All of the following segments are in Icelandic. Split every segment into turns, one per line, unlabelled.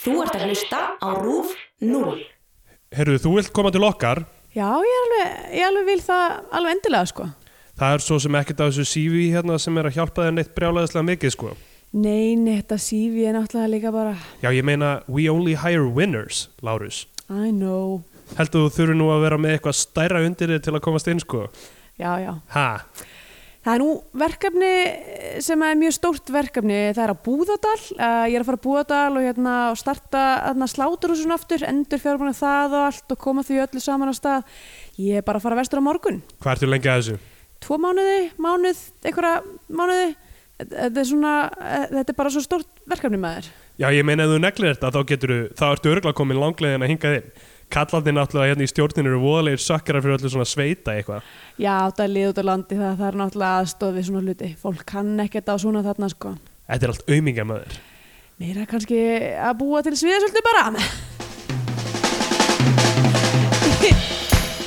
Þú ert að hlusta á RÚF 0.
Herru, þú vilt koma til okkar
Já, ég alveg, ég alveg vil það alveg endilega sko.
Það er svo sem ekkert af þessu CV hérna sem er að hjálpa þér neitt brjálæðislega mikið sko
Nei, nei, þetta CV er náttúrulega líka bara
Já, ég meina, we only hire winners, Lárus
I know
Heldur þú þurfi nú að vera með eitthvað stærra undir þér til að komast inn sko
Já, já
Ha,
Það er nú verkefni sem er mjög stórt verkefni, það er á Búðadal, uh, ég er að fara á Búðadal og hérna, og starta hérna, sláturhúsun aftur, endur fjármánu það og allt og koma því öllu saman á stað. Ég er bara að fara vestur á morgun,
hvað ertu lengi að þessu?
tvo mánuði, mánuð, einhverja mánuði, þetta er, svona, eh, þetta er bara svo stórt verkefni maður.
Já, ég meina, ef þú neglir þetta, þá getur þú, þá ertu örgulega komin langlegin að hinga þinn Kallarnir náttúrulega hérna í stjórninu eru voðalegir sakkarar fyrir öllu svona sveita eitthvað
Já, það er lið út á landi það, það er náttúrulega aðstoð við svona hluti, fólk kann ekkert á svona þarna sko.
Þetta er allt aumingamöður
Meira kannski að búa til sviðasöldu bara.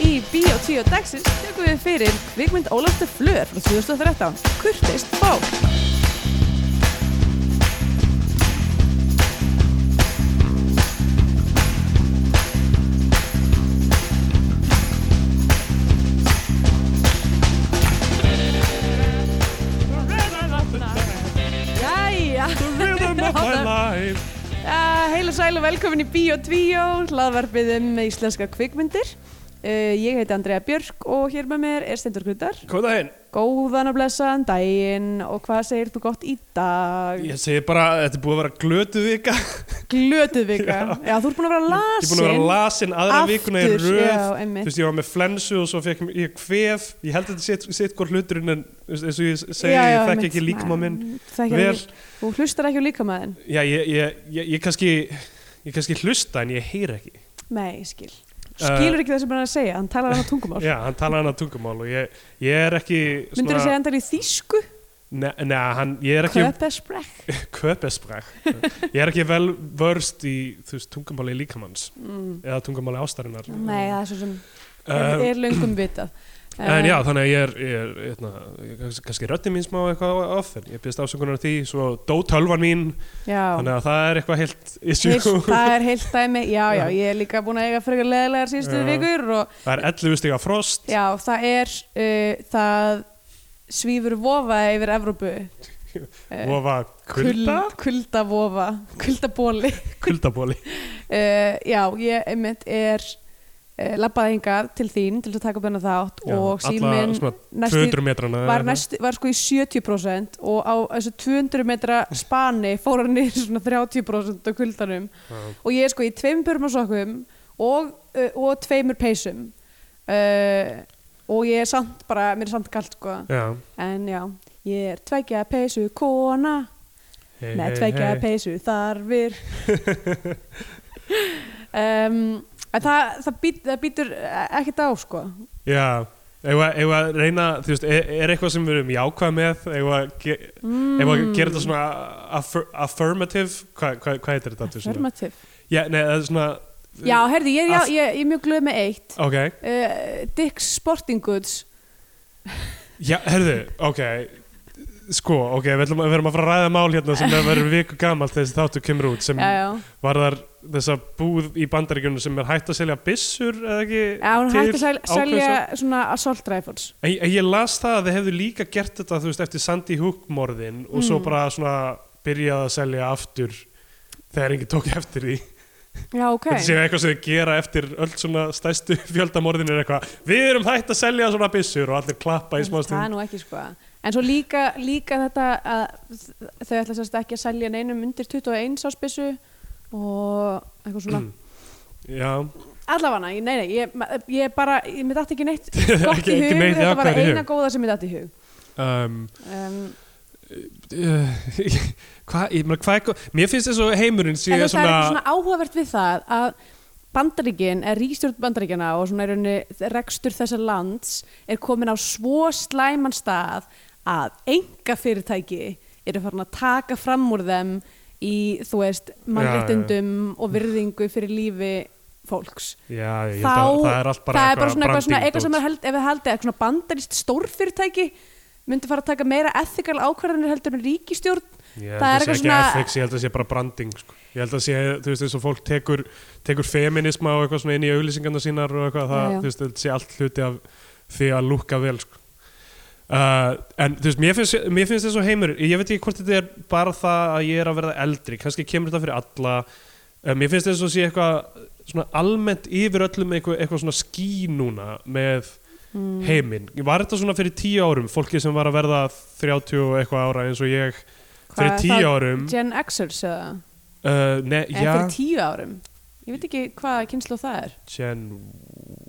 Í Bíó 10 dagsins tökum við fyrir kvikmynd Ólaftur Flör frá 2013, Kurtist Bá. Jæja, uh, heil og sæl og velkomin í Bíó 2, hlaðvarpið um íslenska kvikmyndir. Uh, ég heiti Andrea Björk og hér með mér er Stendur Grudar.
Komið það hinn
Góðan og blessaðan daginn og hvað segir þú gott í dag?
Ég segi bara, þetta er búið að vera glötu vika Ég
Glötuð vika. Já, þú ert búin að vera lasin.
er búin að vera lasin aðra
Aftur,
vikuna í röð
já,
Þú
einmitt.
veist, ég var með flensu og svo fekk ég kvef Ég held að þetta sitt hvort hluturinn en þú veist, eins og ég segi,
Já, já,
ég fekk
einmitt.
ekki líkma minn
Þekki
Vel.
alveg- Þú hlustar ekki á líkamæðin.
Já, ég, ég, ég, ég kannski ég kannski hlusta en ég heyr ekki
Nei, ég skil.
Eh,
Skilur ekki það sem hann er að segja, hann talar annað tungumál.
Já, hann tala annað tungumál og ég, ég er ekki
Myndur þú segja hann talar í þýsku?
Nei, nei, hann, ég er ekki
Köpesbrekk?
köpespræk Ég er ekki vel vörst í þú veist, tungumáli líkamanns
Mm.
eða tungumáli ástarinnar
Nei, það er svo sem er,
Um,
er löngum vitað.
En
Eh,
já, þannig að ég er, ég er eitna, kannski, kannski röddin mín smá eitthvað ofinn, ég byrst afsökunar á því, svo dó tölvan mín,
já.
þannig að það er eitthvað heilt issue.
Heilt, það er heilt dæmi, já, já,
Já.
ég er líka búin að eiga frekar leðilegar síðustu
Já.
vikur og
það er 11 stiga frost,
Já, það er uh, það svífur vofa yfir Evrópu
og
uh,
var kulda,
Kulda vofa, kuldabóli
kuldabóli.
uh, Já, ég einmitt er uh, labbaði hingað til þín til þess að taka upp hennar þátt
Já,
og
alla
síminn
svona
næstu
200 metrana.
var, næst, var sko í 70% og á þessu 200 metra spani fór hann niður í svona 30% á kuldanum og ég er sko í tveim pörum á sokkum og, uh, og tveimur peysum uh, og ég er samt bara, mér er samt kalt sko
Já.
en já, ég er tveikja peysu kona
Hey,
Nei,
hey,
tveikja
hey.
peysu þarfir um, en það, það, být, það býtur ekkert á sko
Já, ef að- ef að reyna, þú veist, er, er eitthvað sem við erum jákvæð með, ef að, ge, mm. að gera þetta svona affir, affirmative, hvað hva, hva heitir þetta? aftur svona?
Formativ
Já, nei, það er svona,
Já, herði, ég, er- já,
Aff-
ég, ég er mjög glöð með eitt
ok.
uh, Dick's Sporting Goods
Já, herðu, ok Sko, ok, við, ætlum, að- við erum að fara að ræða mál hérna sem er verið viku gamalt þessi þáttu kemur út sem
Já, já,
varðar þessa búð í bandaríkjunum sem er hægt að selja byssur eða ekki
já hún hætti að sel-
ákveðins-
selja svona assault rifles
En, en ég las það að þið hefðu líka gert þetta þú veist, eftir Sandy Hook morðin og svo
Mm.
bara svona byrjað að selja aftur þegar enginn tók eftir því
Já, ok
þetta séu eitthvað sem þið gera eftir öll svona stæstu fjöldamorðin er eitthvað við erum hægt að selja svona byssur og allir klappa í smá
Það er
stund
nú ekki sko En svo líka, líka þetta að þau ætla sérst ekki að selja neinum undir 21 ásbissu og eitthvað svona
Mm. Já,
Allafana, nei, nei, ég, ég bara, ég mér dætti ekki neitt gott
Ekki-
í
ekki
hug,
neitt
þetta var
jákvæðara í hug.
eina góða sem mér dætti í hug
um,
um,
Uh, hvað, ég meina, hvað er gó- mér finnst þess að heimurinn sé
En þú veist, það er eitthvað
svona
svona áhugavert við það að bandaríkin, er ríkstjórn bandaríkina og svona er rauninni rekstur þessa lands er komin á svo slæman stað að enga fyrirtæki eru farin að taka fram úr þeim í, þú veist, mannréttindum og virðingu fyrir lífi fólks.
já, ég held að
Þá,
það er allt bara
það er bara svona eitthvað, svona,
branding
eitthvað sem
dót.
er held, ef við haldið, eitthvað svona bandarist stórfyrirtæki myndi fara að taka meira ethikal ákvarðanir heldur en ríkistjórn
ég held
það
að
er
það sé
eitthvað
ekki
svona-
ethics, ég held að það sé bara branding sko. Ég held að sé, þú veist, eins og fólk tekur, tekur feminisma og eitthvað svona inn í auglýsingarna sínar og eitthvað, það,
Já, já.
þú veist, þetta sé allt hluti af því að lúkka vel, sko. Uh, en þú veist, mér finnst, mér finnst þessu heimur, ég veit ekki hvort þetta er bara það að ég er að verða eldri, kannski kemur þetta fyrir alla, uh, mér finnst þessu að sé eitthvað svona almennt yfir öllum eitthvað, eitthvað svona ský núna með
Mm.
heiminn. Var þetta svona fyrir tíu árum, fólki sem var að verða 30 og eitthvað ára eins og ég,
Hvað
fyrir
er
tíu
það?
árum,
Gen Xers eða?
uh, ne,
En
já,
fyrir tíu árum? Ég veit ekki hvað kynslu það er.
Gen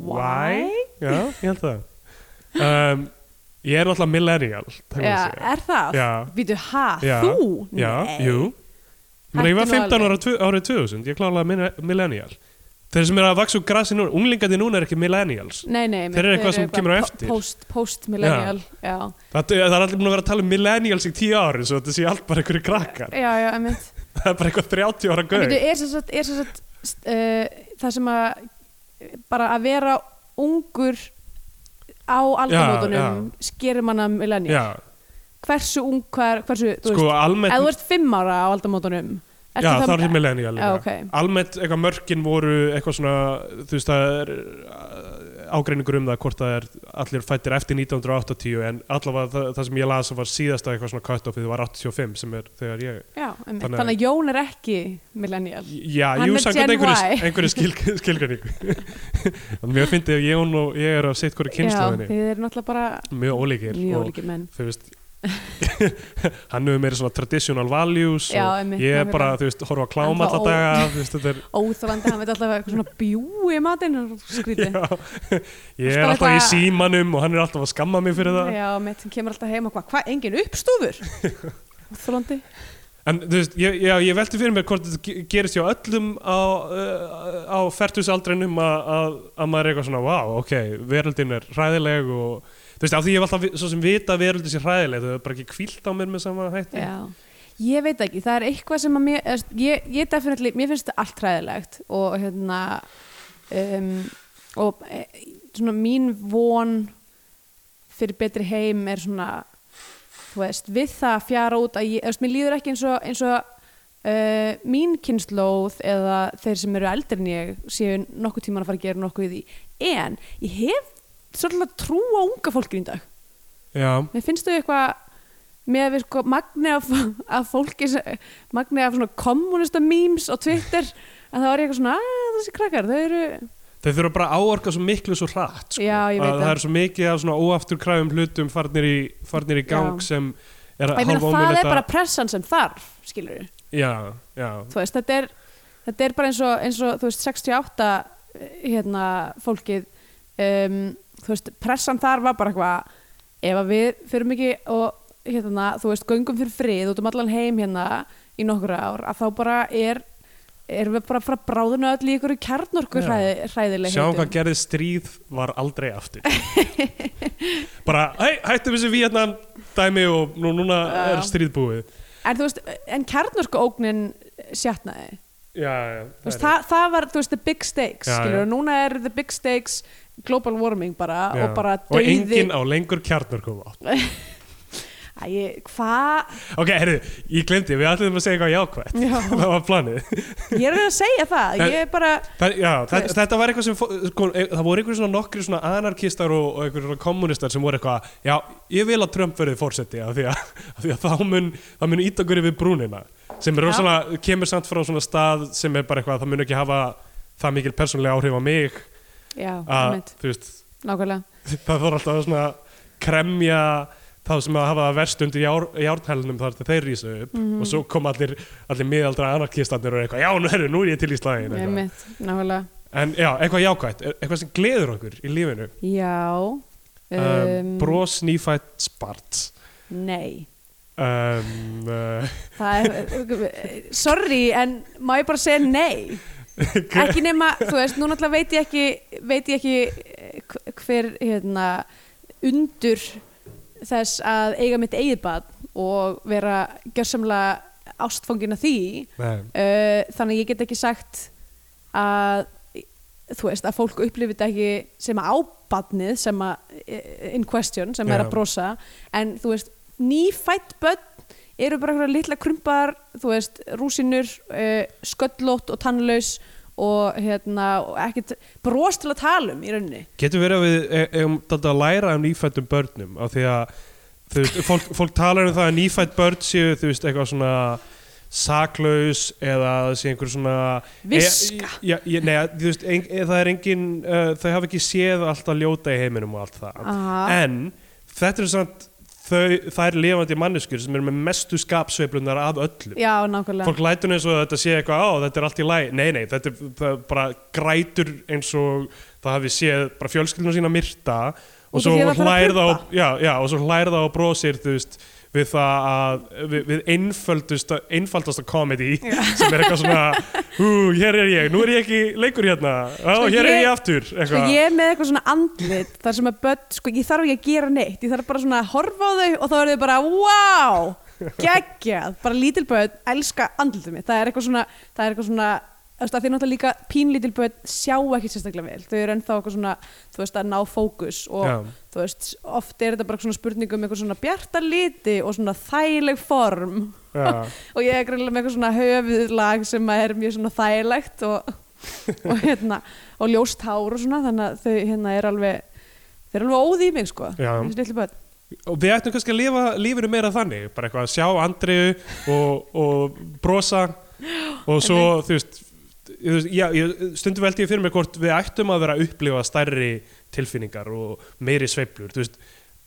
Why?
Y Já, ég held það um, Ég er náttúrulega millennial það
Já,
kann ég
er það?
Já.
Býtu, ha,
Já.
þú?
segja. Já,
Nei.
jú Ég meina, Ég var
Hættu nú
15
alveg.
ára tvu- árið 2000, ég er klálega min- millennial Þeir sem eru að vaksa úr grasi núna Unglingandi núna er ekki millennials
Nei, nei.
Þeir eru eitthvað sem kemur á
po-
eftir.
Post, post-millennial, já.
Það, það er allir búin að vera að tala um millennials í 10 ári Svo þetta sé allt bara einhverju krakkar
Já, já, emitt.
Það er bara eitthvað 30 ára
En
gauð
býtu, er sem sagt, er sem sagt st- uh, það sem að bara að vera ungur á aldamótunum skerir manna millenni
Já,
hversu ung, hver, hversu þú
sko
veist,
almennt
ef þú ert fimm ára á aldamótunum ertu
Já, þá er ég millennial
Já,
líka.
ok.
Almennt eitthvað mörkin voru eitthvað svona, þú veist, það er uh, ágreiningur um það hvort það er allir fættir eftir 1980 en allavega það, það sem ég las var síðasta eitthvað svona cut-offið var 85 sem er þegar ég
já, einmitt.
Þannig-
þannig, að Jón er ekki millennial
Já,
Hann
jú,
er
samkvæmt
Gen
einhverju,
Y.
einhverju skil, skilgreiningu Mjög fyndi ef Jón og ég er á sitt hverju
já,
kynnslóðinni
þið eru náttúrulega bara
Mjög ólíkir
mjög
og-
ólíkir menn
þú veist hann hefur meira svona traditional values
Já,
og
einmitt,
ég er
nákvæmlega.
bara, þú veist, horfa að kláma
Hann
alla
var ó-
daga, þú veist, þetta er
óþólandi, hann veit alltaf eitthvað svona bjú í matinn og skrítið
Já, ég er
Alltaf
alltaf í
eitthvað-
símanum og hann er alltaf að skamma mig fyrir það
Sko, já, mitt sem kemur alltaf heim og hvað, hvað, engin uppstúfur óþólandi
en þú veist, ég, já, ég velti fyrir mér hvort þetta ge- gerist hjá öllum á, uh, á fertusaldrinum að að- að maður er eitthvað svona, wow, ok veröldin er hræðileg og þú veist, af því ég hef alltaf vi- svo sem vita að veröldin sé hræðileg það er bara ekki kvílt á mér með sama hætti
Já, ég veit ekki, það er eitthvað sem að mér, eða, st- ég, ég definitely, mér finnst þetta allt ræðilegt og hérna um, og e, svona mín von fyrir betri heim er svona þú veist, við það að fjara út að ég, eða, st- mér líður ekki eins og, eins og Uh, mín kynnslóð eða þeir sem eru eldri en ég séu nokkuð tíman að fara að gera nokkuð í því en ég hef svolítið trú á unga fólkinu í dag
já,
Mér finnst þau eitthvað með að við sko magni af, af fólki sem- magni af svona kommunista memes á Twitter að það var ég eitthvað svona að þessi krakkar, þau eru
þeir þurfa bara að áorka svo miklu svo hrætt sko.
Já, ég veit
að
það.
það er svo mikið af svona óaftur kræfum hlutum farnir í, farnir í gang
Já.
sem er
Ég meina,
hálfa
það er
ómögulegt að-
bara pressan sem þarf skilur við,
já, já,
þú veist, þetta er þetta er bara eins og, eins og þú veist, 68 hérna, fólkið um, þú veist, pressan þar var bara eitthvað, ef að við fyrir mikið og hérna, þú veist, göngum fyrir frið út um allan heim hérna í nokkur ár, að þá bara er erum við bara að fara að bráðuna öll í einhverju kjarnorku
Já.
hræði, hræðileg
Sjáum hvað gerði stríð var aldrei aftur Bara, hei, hættum þessu Vietnam dæmi og nú, núna
Já.
er stríð búið
en þú veist, en kjarnorku ógnin sjatnaði,
Já, já,
þú veist, það, það var þú veist, the big stakes,
Já,
skilur,
já.
og núna er the big stakes global warming bara
Já.
og bara
Og
dauði
enginn á lengur kjarnarkum
Æ, hvað?
Ok, heyrðu, ég glemdi, við ætlum að segja eitthvað jákvætt
Já.
Það var planið
Ég er að reyna að segja það, ég er bara
það, Já,
Þú
það,
veist.
þetta var eitthvað sem fó- sko, e- Það voru einhverjum svona nokkri svona anarkistar og, og einhverjum svona kommunistar sem voru eitthvað Já, ég vil að Trump verði fórseti af því að, af því að þá mun, það mun ít okkur yfir brúnina sem er
Já.
rosalega, kemur samt frá svona stað sem er bara eitthvað, það mun ekki hafa það mikil persónlega áhrif á mig
Já,
að,
einmitt,
þú veist,
nákvæmlega
það þarf alltaf að svona kremja þá sem að hafa það verst undir jár, járnhælunum þar til þeir rísa upp
Mhm.
og svo kom allir, allir miðaldra anarkistarnir og eitthvað, já, nú, heru, nú er ég til í slæðin
Einmitt, nákvæmlega
En já, eitthvað jákvætt, e- eitthvað sem gleður okkur í lífinu.
Já
Um, bros, nýfætt, spart.
Nei
Um, uh,
Það er, sorry, en má ég bara segja nei Ekki nema, þú veist, nú náttúrulega veit ég ekki veit ég ekki eh, hv- hver hérna, undur þess að eiga mitt eigið barn og vera gjörsamlega ástfangin að því
nei,
uh, þannig að ég get ekki sagt að þú veist að fólk upplifir þetta ekki sem að ábarnið sem að in question sem er
Já.
að brosa en þú veist nýfætt börn eru bara einhverja litla krumpaðar þú veist, rúsinur uh, sköllótt og tannlaus og hérna, og ekkert bros til að tala um í rauninni
Getur verið að við e- eigum dálítið að læra um nýfættum börnum af því að þú veist, fólk, fólk talar um það að nýfætt börn séu þú veist, eitthvað svona saklaus eða að það sé einhver svona
Viska.
e, e, e, nei, að, þú veist, ein, e, það er engin uh, þau hafa ekki séð alltaf ljóta í heiminum og allt það
Aha.
en þetta er samt þau, þær lifandi manneskjur sem eru með mestu skapsveiflunar af öllum
já, nákvæmlega
fólk lætur eins og þetta sé eitthvað á þetta er allt í læg, nei nei, þetta er það er bara grætur eins og það hafi séð bara fjölskyldunum sína myrta og
Út af
svo
því að það þarf að
hlærða og,
pumpa.
já, já, og svo hlærða og brosir þú veist, við það að við, við einföldusta, einfaldasta komedi sem er eitthvað svona hú, hér er ég, nú er ég ekki leikur hérna á,
Sko,
hér er
ég-
ég aftur
Sko
eitthvað,
ég er með eitthvað svona andlit þar sem að börn, sko ég þarf ekki að gera neitt ég þarf bara svona að horfa á þau og þá eru þau bara wow, geggjað bara lítil börn, elska andlitum mitt það er eitthvað svona, það er eitthvað svona þú veist, að þeir náttúrulega líka pínlítil börn sjá ekki sérstaklega vel, þau eru ennþá eitthvað svona þú veist, að ná fókus og
Já.
þú veist, oft er þetta bara svona spurning um eitthvað svona bjarta liti og svona þægileg form
Já.
og ég er greinlega með eitthvað svona höfuðlag sem að er mjög svona þægilegt og, og hérna og ljóst hár og svona þannig að þau hérna er alveg þau eru alveg óði í mig sko
Já.
þessi litlu börn.
og við ættum kannski að lifa lífinu meira þannig bara eitthvað að sjá andriðu og, og brosa og svo þú veist, þú veist já, ég, stundum veldi ég fyrir mig hvort við ættum að vera að upplifa stærri tilfinningar og meiri sveiflur þú veist,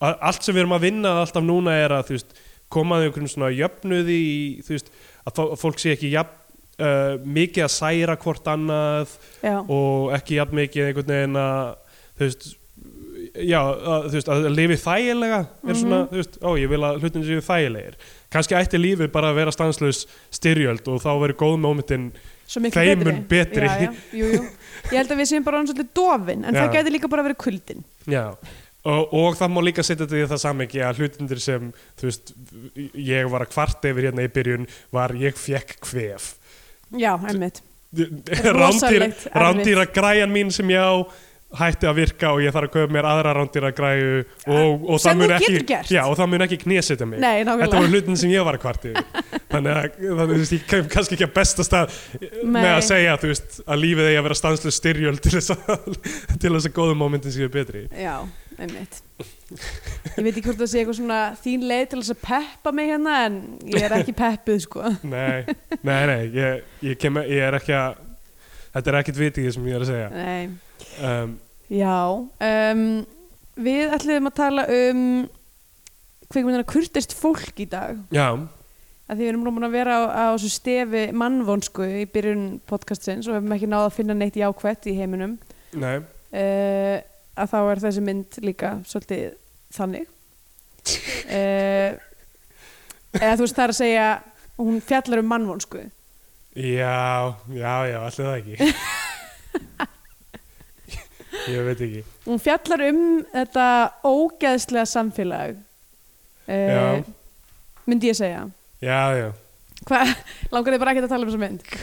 a- allt sem við erum að vinna alltaf núna er að þú veist, komaði einhverjum svona jöfnuði í, þú veist, að fó- að fólk sé ekki jafn, uh, mikið að særa hvort annað
Já.
og ekki jafn mikið einhvern veginn að þú veist já, að, þú veist, að lifi þægilega er svona, þú veist, ó, ég vil að hlutin séu þægilegir kannski ætti lífið bara að vera stanslaus styrjöld og þá verið góð mómentin
svo miklu
þeim
betri,
mun betri.
Já, já. Jú, jú. ég held að við séum bara orðin svolítið dofin en
Já.
það gæti líka bara verið kuldin
já Og, og það má líka setja þetta í það samengi að hlutindir sem, þú veist, ég var að kvarta yfir hérna í byrjun var ég fekk kvef.
já, emmitt
Rándýra,
erfitt.
rándýra græjan mín sem ég á hætti að virka og ég þarf að köpa mér aðra rándýra græju og, og
Ah, Sem
það mun
þú
ekki,
getur gert.
já, og það mun ekki knésetja mig
Nei, nákvæmlega.
þetta voru hlutin sem ég var að kvarti þannig að þannig, að, þú veist, ég kem kannski ekki að besta stað með
Nei.
að segja þú veist, að lífið eigi að vera stanslust styrjöld til þess að, til þess að góðum momentin séu betri
já, emmitt ég veit ekki hvort það sé eitthvað svona þín leið til þess að peppa mig hérna en ég er ekki peppuð sko
nei, nei, nei ég, ég, kem, ég er ekki að þetta er ekkit vitið sem ég er að segja
nei
um,
Já, um, við ætlum að tala um kveikmyndina kurtist fólk í dag
já,
að því við erum búin að vera á, á þessu stefi mannvonsku í byrjun podcastins og hefum ekki náð að finna neitt jákvætt í heiminum
nei
uh, að þá er þessi mynd líka svolítið þannig uh, eða þú veist það er að segja hún fjallar um mannvonsku
Já, já, já, allir það ekki Ég veit ekki
hún fjallar um þetta ógeðslega samfélag uh,
Já.
myndi ég segja
Já, já
Hvað, langar þið bara ekki að tala um þessa mynd?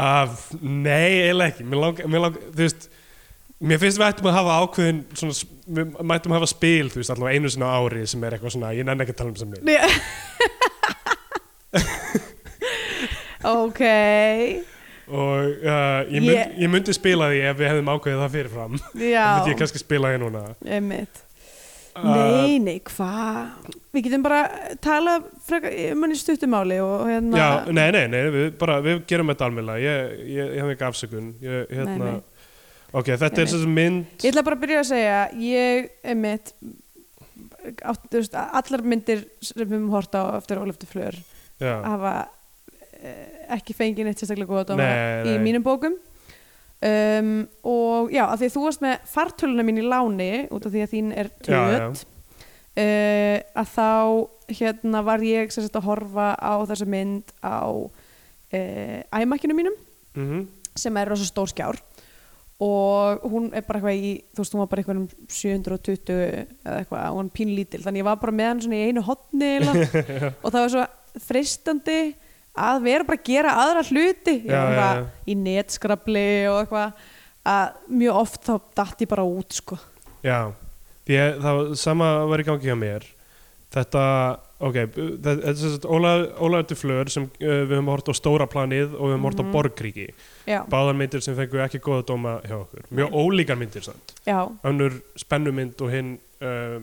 Af, Nei, eiginlega ekki Mér langar, mér langar, þú veist Mér finnst við ættum að hafa ákveðin svona, s- Við mættum að hafa spil, þú veist, allavega einu sinna ári sem er eitthvað svona, ég nenni ekki að tala um sem minn
Nei. ok,
og uh, ég, mynd,
Ég-
ég myndi spila því ef við hefðum ákveðið það fyrirfram Já. myndi ég
já,
kannski spila því núna
einmitt.
Uh,
Nei, nei, hvað? Við getum bara tala frekar um hann í stuttumáli og hérna...
Já, um- nei, nei, nei, við, bara, við gerum þetta almennilega ég, ég, ég hef ekki afsökun ég, hérna,
nei.
Ok, þetta
Einmitt.
er þessi mynd
Ég ætla bara að byrja að segja, ég, einmitt, átt, þú veist, allar myndir sem við höfum hort á eftir Ólaftur Flör
Já.
hafa eh, ekki fengið neitt sérstaklega góða dóma
Nei,
í
nei.
mínum bókum um, og já, af því að þú varst með fartöluna mín í láni út af því að þín er
Já,
tröð uh, að þá hérna var ég sem sagt að horfa á þessa mynd á uh, æmakinu mínum
mm
sem er rosa stór skjár og hún er bara eitthvað í þú veist, hún var bara eitthvað um 720 eða eitthvað, hún var pínlítil þannig ég var bara með hann svona í einu hotni og það var svo freistandi að vera bara að gera aðra hluti ég
Já,
var
já,
bara
já.
í netskrabli og eitthvað að mjög oft þá datt ég bara út sko
Já, ég, það var, sama var í gangi hjá mér þetta ok, það- þetta er sérst Ólaður Duflör sem uh, við höfum hort á stóra planið og við höfum
Mhm.
hort á Borgríki
já,
báðar myndir sem fengu ekki góða dóma hjá okkur mjög ólíkar myndir samt
já
önnur spennumynd og hinn uh,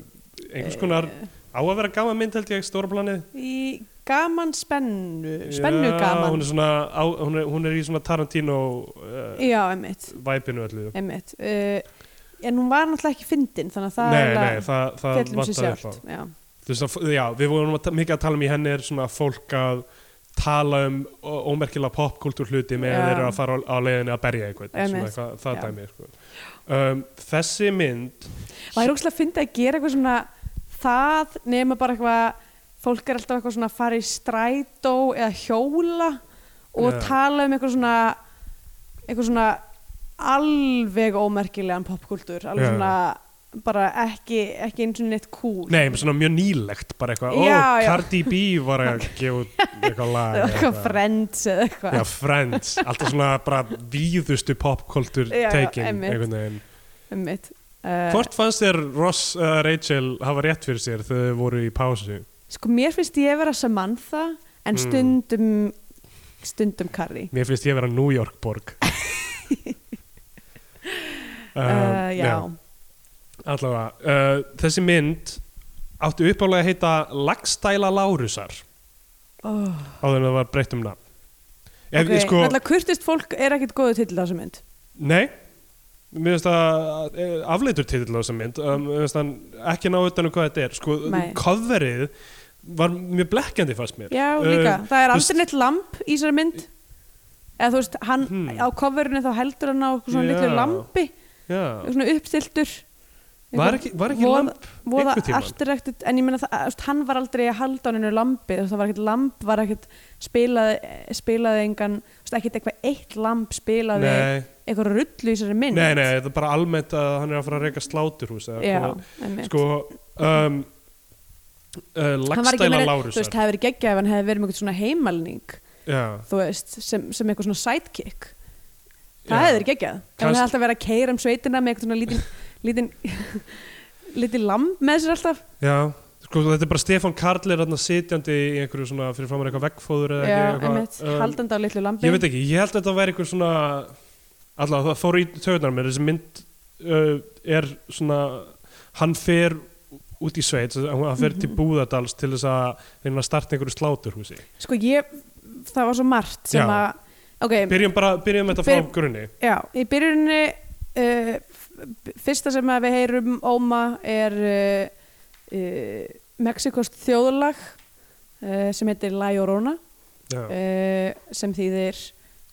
einhvers konar
Eh.
á að vera gaman mynd held ég stóra planið
í gaman spennu spennu
Já,
gaman
hún er, svona, á, hún, er, hún er í svona Tarantino uh,
já, einmitt,
væpinu öllu
einmitt uh, en hún var náttúrulega ekki fyndin þannig að það
nei,
er
nei, það, það
fjallum sér
vantaði upp á.
um sjálft já,
Þú veist að, já, við vorum að, ta- mikið að tala um í henni er svona fólk að tala um ó- ómerkilega popkultúr hluti með
Já.
þeir eru að fara á, á leiðinni að berja eitthvað, svona
Einmitt.
eitthvað það
Já.
dæmi sko. um, þessi mynd
Það er ógslag að finna að gera eitthvað svona það nema bara eitthvað fólk er alltaf eitthvað svona að fara í strætó eða hjóla og
Já.
tala um eitthvað svona eitthvað svona alveg ómerkilegan popkultúr alveg
Já.
svona bara ekki ekki eins og neitt cool
nei, svona mjög nýlegt bara eitthvað, ó,
Já, já.
Cardi B var að gefa út eitthvað lag
það var eitthvað friends eða eitthvað
Já, Friends, alltaf svona bara víðustu popkultúr
Já, já,
taking
einmitt.
einhvern veginn
einmitt uh,
Hvort fannst þér Ross eða Rachel hafa rétt fyrir sér þegar þau voru í pásu?
sko mér finnst ég vera Samantha en
Mm.
stundum stundum Carrie
Mér finnst ég vera New York borg Ehm, Um,
uh, já,
Allavega, uh, þessi mynd áttu uppálega að heita Lagstæla Lárusar
Oh.
áður en það var breytt um nafn Ef
ok,
ég sko,
náttúrulega kurtist fólk er ekkert góðu til þessu mynd
nei Mér finnst það eh, afleitur titill á þessa mynd um, Mér finnst hann ekki ná utan um hvað þetta er Sko,
Nei.
coverið var mjög blekkjandi fast mér
Já, líka.
Um,
það er
þú
aldrei neitt lamp í þessari mynd. Eða þú veist, hann
Hmm.
á coverinu þá heldur hann á eitthvað svona
Já.
litlu lampi,
Já,
eitthvað svona uppstiltur.
var ekki, var ekki
voða-
lamp
voða
einhvern tímann?
artirektur, en ég meina það, þú veist, hann var aldrei að halda á hennu lampi, þú veist, það var ekkert lamp, var ekkert spilaði, spilaði engan, þú veist, ekkert eitthvað eitt lamp spilaði
Nei,
eitthvað rullu í þessari mynd.
nei, nei, það er bara almennt að hann er að fara að reyka sláturhús eða
Já,
hvað-
einmitt.
Sko, um, uh,
Hann var ekki
lagstæla
meira- Þú
Lárusar
veist, það hefur geggjað ef hann hefði verið með eitthvað svona heimalning,
Já,
þú veist, sem, sem eitthvað svona sidekick. Það
Já.
hefði verið geggjað. Ef hann
Kannski-
hefði alltaf verið að keira um sveitina með eitthvað svona lítinn lítinn lítinn lamb með sér alltaf.
já Sko, þetta er bara Stefán Karl er þarna sitjandi í einhverju svona fyrir framar eitthvað veggfóður eða
Já,
ekki
einmitt,
um,
haldandi á litlu lambi.
Ég veit ekki, ég held að þetta væri einhver svona allavega það fór í töðunar mér þessi mynd uh, er svona hann fer út í sveit hann fer
Mhm.
til Búðardals til þess að reyna að starta einhverju sláturhúsi
Sko ég, það var svo margt sem
Já.
að, ok,
Byrjum bara, byrjum þetta frá
Byrjum-
grunni
já, í byrjunni uh, f- fyrsta sem að við heyrum Óma er uh, uh, Mexikost þjóðlag uh, sem heitir La Llorona
Já,
uh, sem þýðir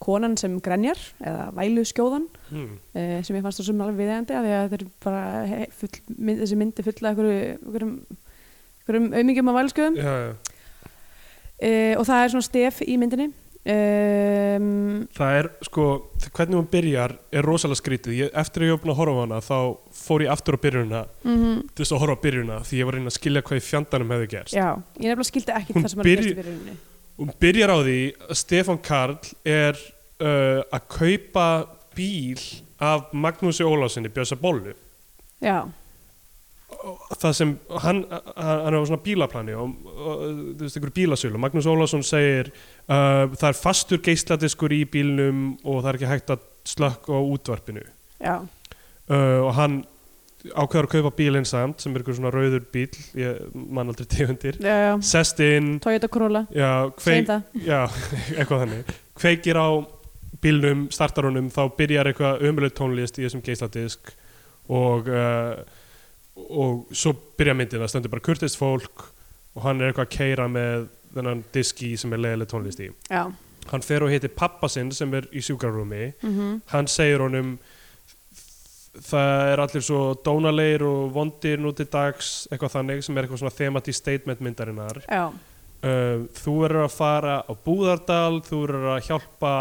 konan sem grenjar eða vælu skjóðan
hmm.
uh, sem ég fannst þessum alveg viðegandi af því að þetta er bara he- full, mynd, þessi myndi fulla einhverjum einhverjum aumingjum á vælsköðum
já, já.
uh, og það er svona stef í myndinni um,
Það er sko, þ- hvernig hún byrjar er rosalega skrítið, ég, eftir að ég var búin að horfa á hana þá fór ég aftur á byrjunina
mm
til þess að horfa á byrjunina því ég var að reyna að skilja hvað í fjandanum hefði gerst
já, ég nefnilega skildi ekki
Hún
það sem er
byrj-
byrju... fyrir henni
Hún byrjar á því að Stefán Karl er uh, að kaupa bíl af Magnúsi Ólásinni Bjösa Bollu
já,
það sem hann, hann, hann er á svona bílaplani og, og þú veist, ykkur bílasölu Magnús Ólásson segir uh, það er fastur geisladiskur í bílnum og það er ekki hægt að slökk á útvarpinu
já,
uh, og hann ákveðar að kaupa bílinn samt sem er ykkur svona rauður bíl ég man aldrei tegundir
já, já
sest inn
Toyota Corolla,
já,
segjum
kveik,
það
já, eitthvað þannig kveikir á bílnum, startar honum þá byrjar eitthvað ömuleg tónlist í þessum geisladisk og uh, og svo byrja myndin það stendur bara kurtist fólk og hann er eitthvað að keira með þennan diski sem er leiðileg tónlist í
já,
hann fer og hittir pappa sinn sem er í sjúkrarúmi
mm
hann segir honum það er allir svo dónalegir og vondir nú til dags eitthvað þannig sem er eitthvað svona themati statement myndarinnar
já,
uh, þú verður að fara á Búðardal, þú verður að hjálpa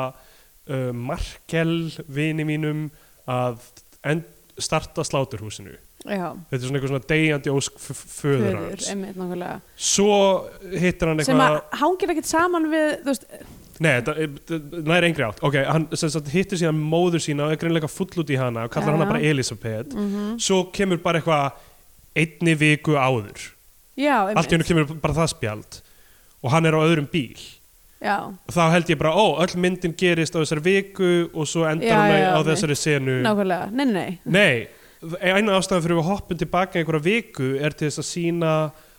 uh, Markel vini mínum að end, starta sláturhúsinu
já
þetta er svona einhver svona deyjandi ósk f- föður
Föður,
hans
einmitt nákvæmlega
svo hittir hann
sem
eitthvað
að hangir ekkert saman við þú veist,
nei, þetta næri engri átt ok, hann sem sagt, hittir síðan móður sína og er greinlega full út í hana og kallar
Já.
hana bara Elisabeth
mm
svo kemur bara eitthvað einni viku áður
já,
allt í hennu kemur bara það spjald og hann er á öðrum bíl
já,
og þá held ég bara, ó, öll myndin gerist á þessari viku og svo endar
Já,
hún
já,
á
ok.
þessari senu
nákvæmlega, nei, nei, nei
Nei, eina ástæðan fyrir við hoppum tilbaka einhverja viku er til þess að sína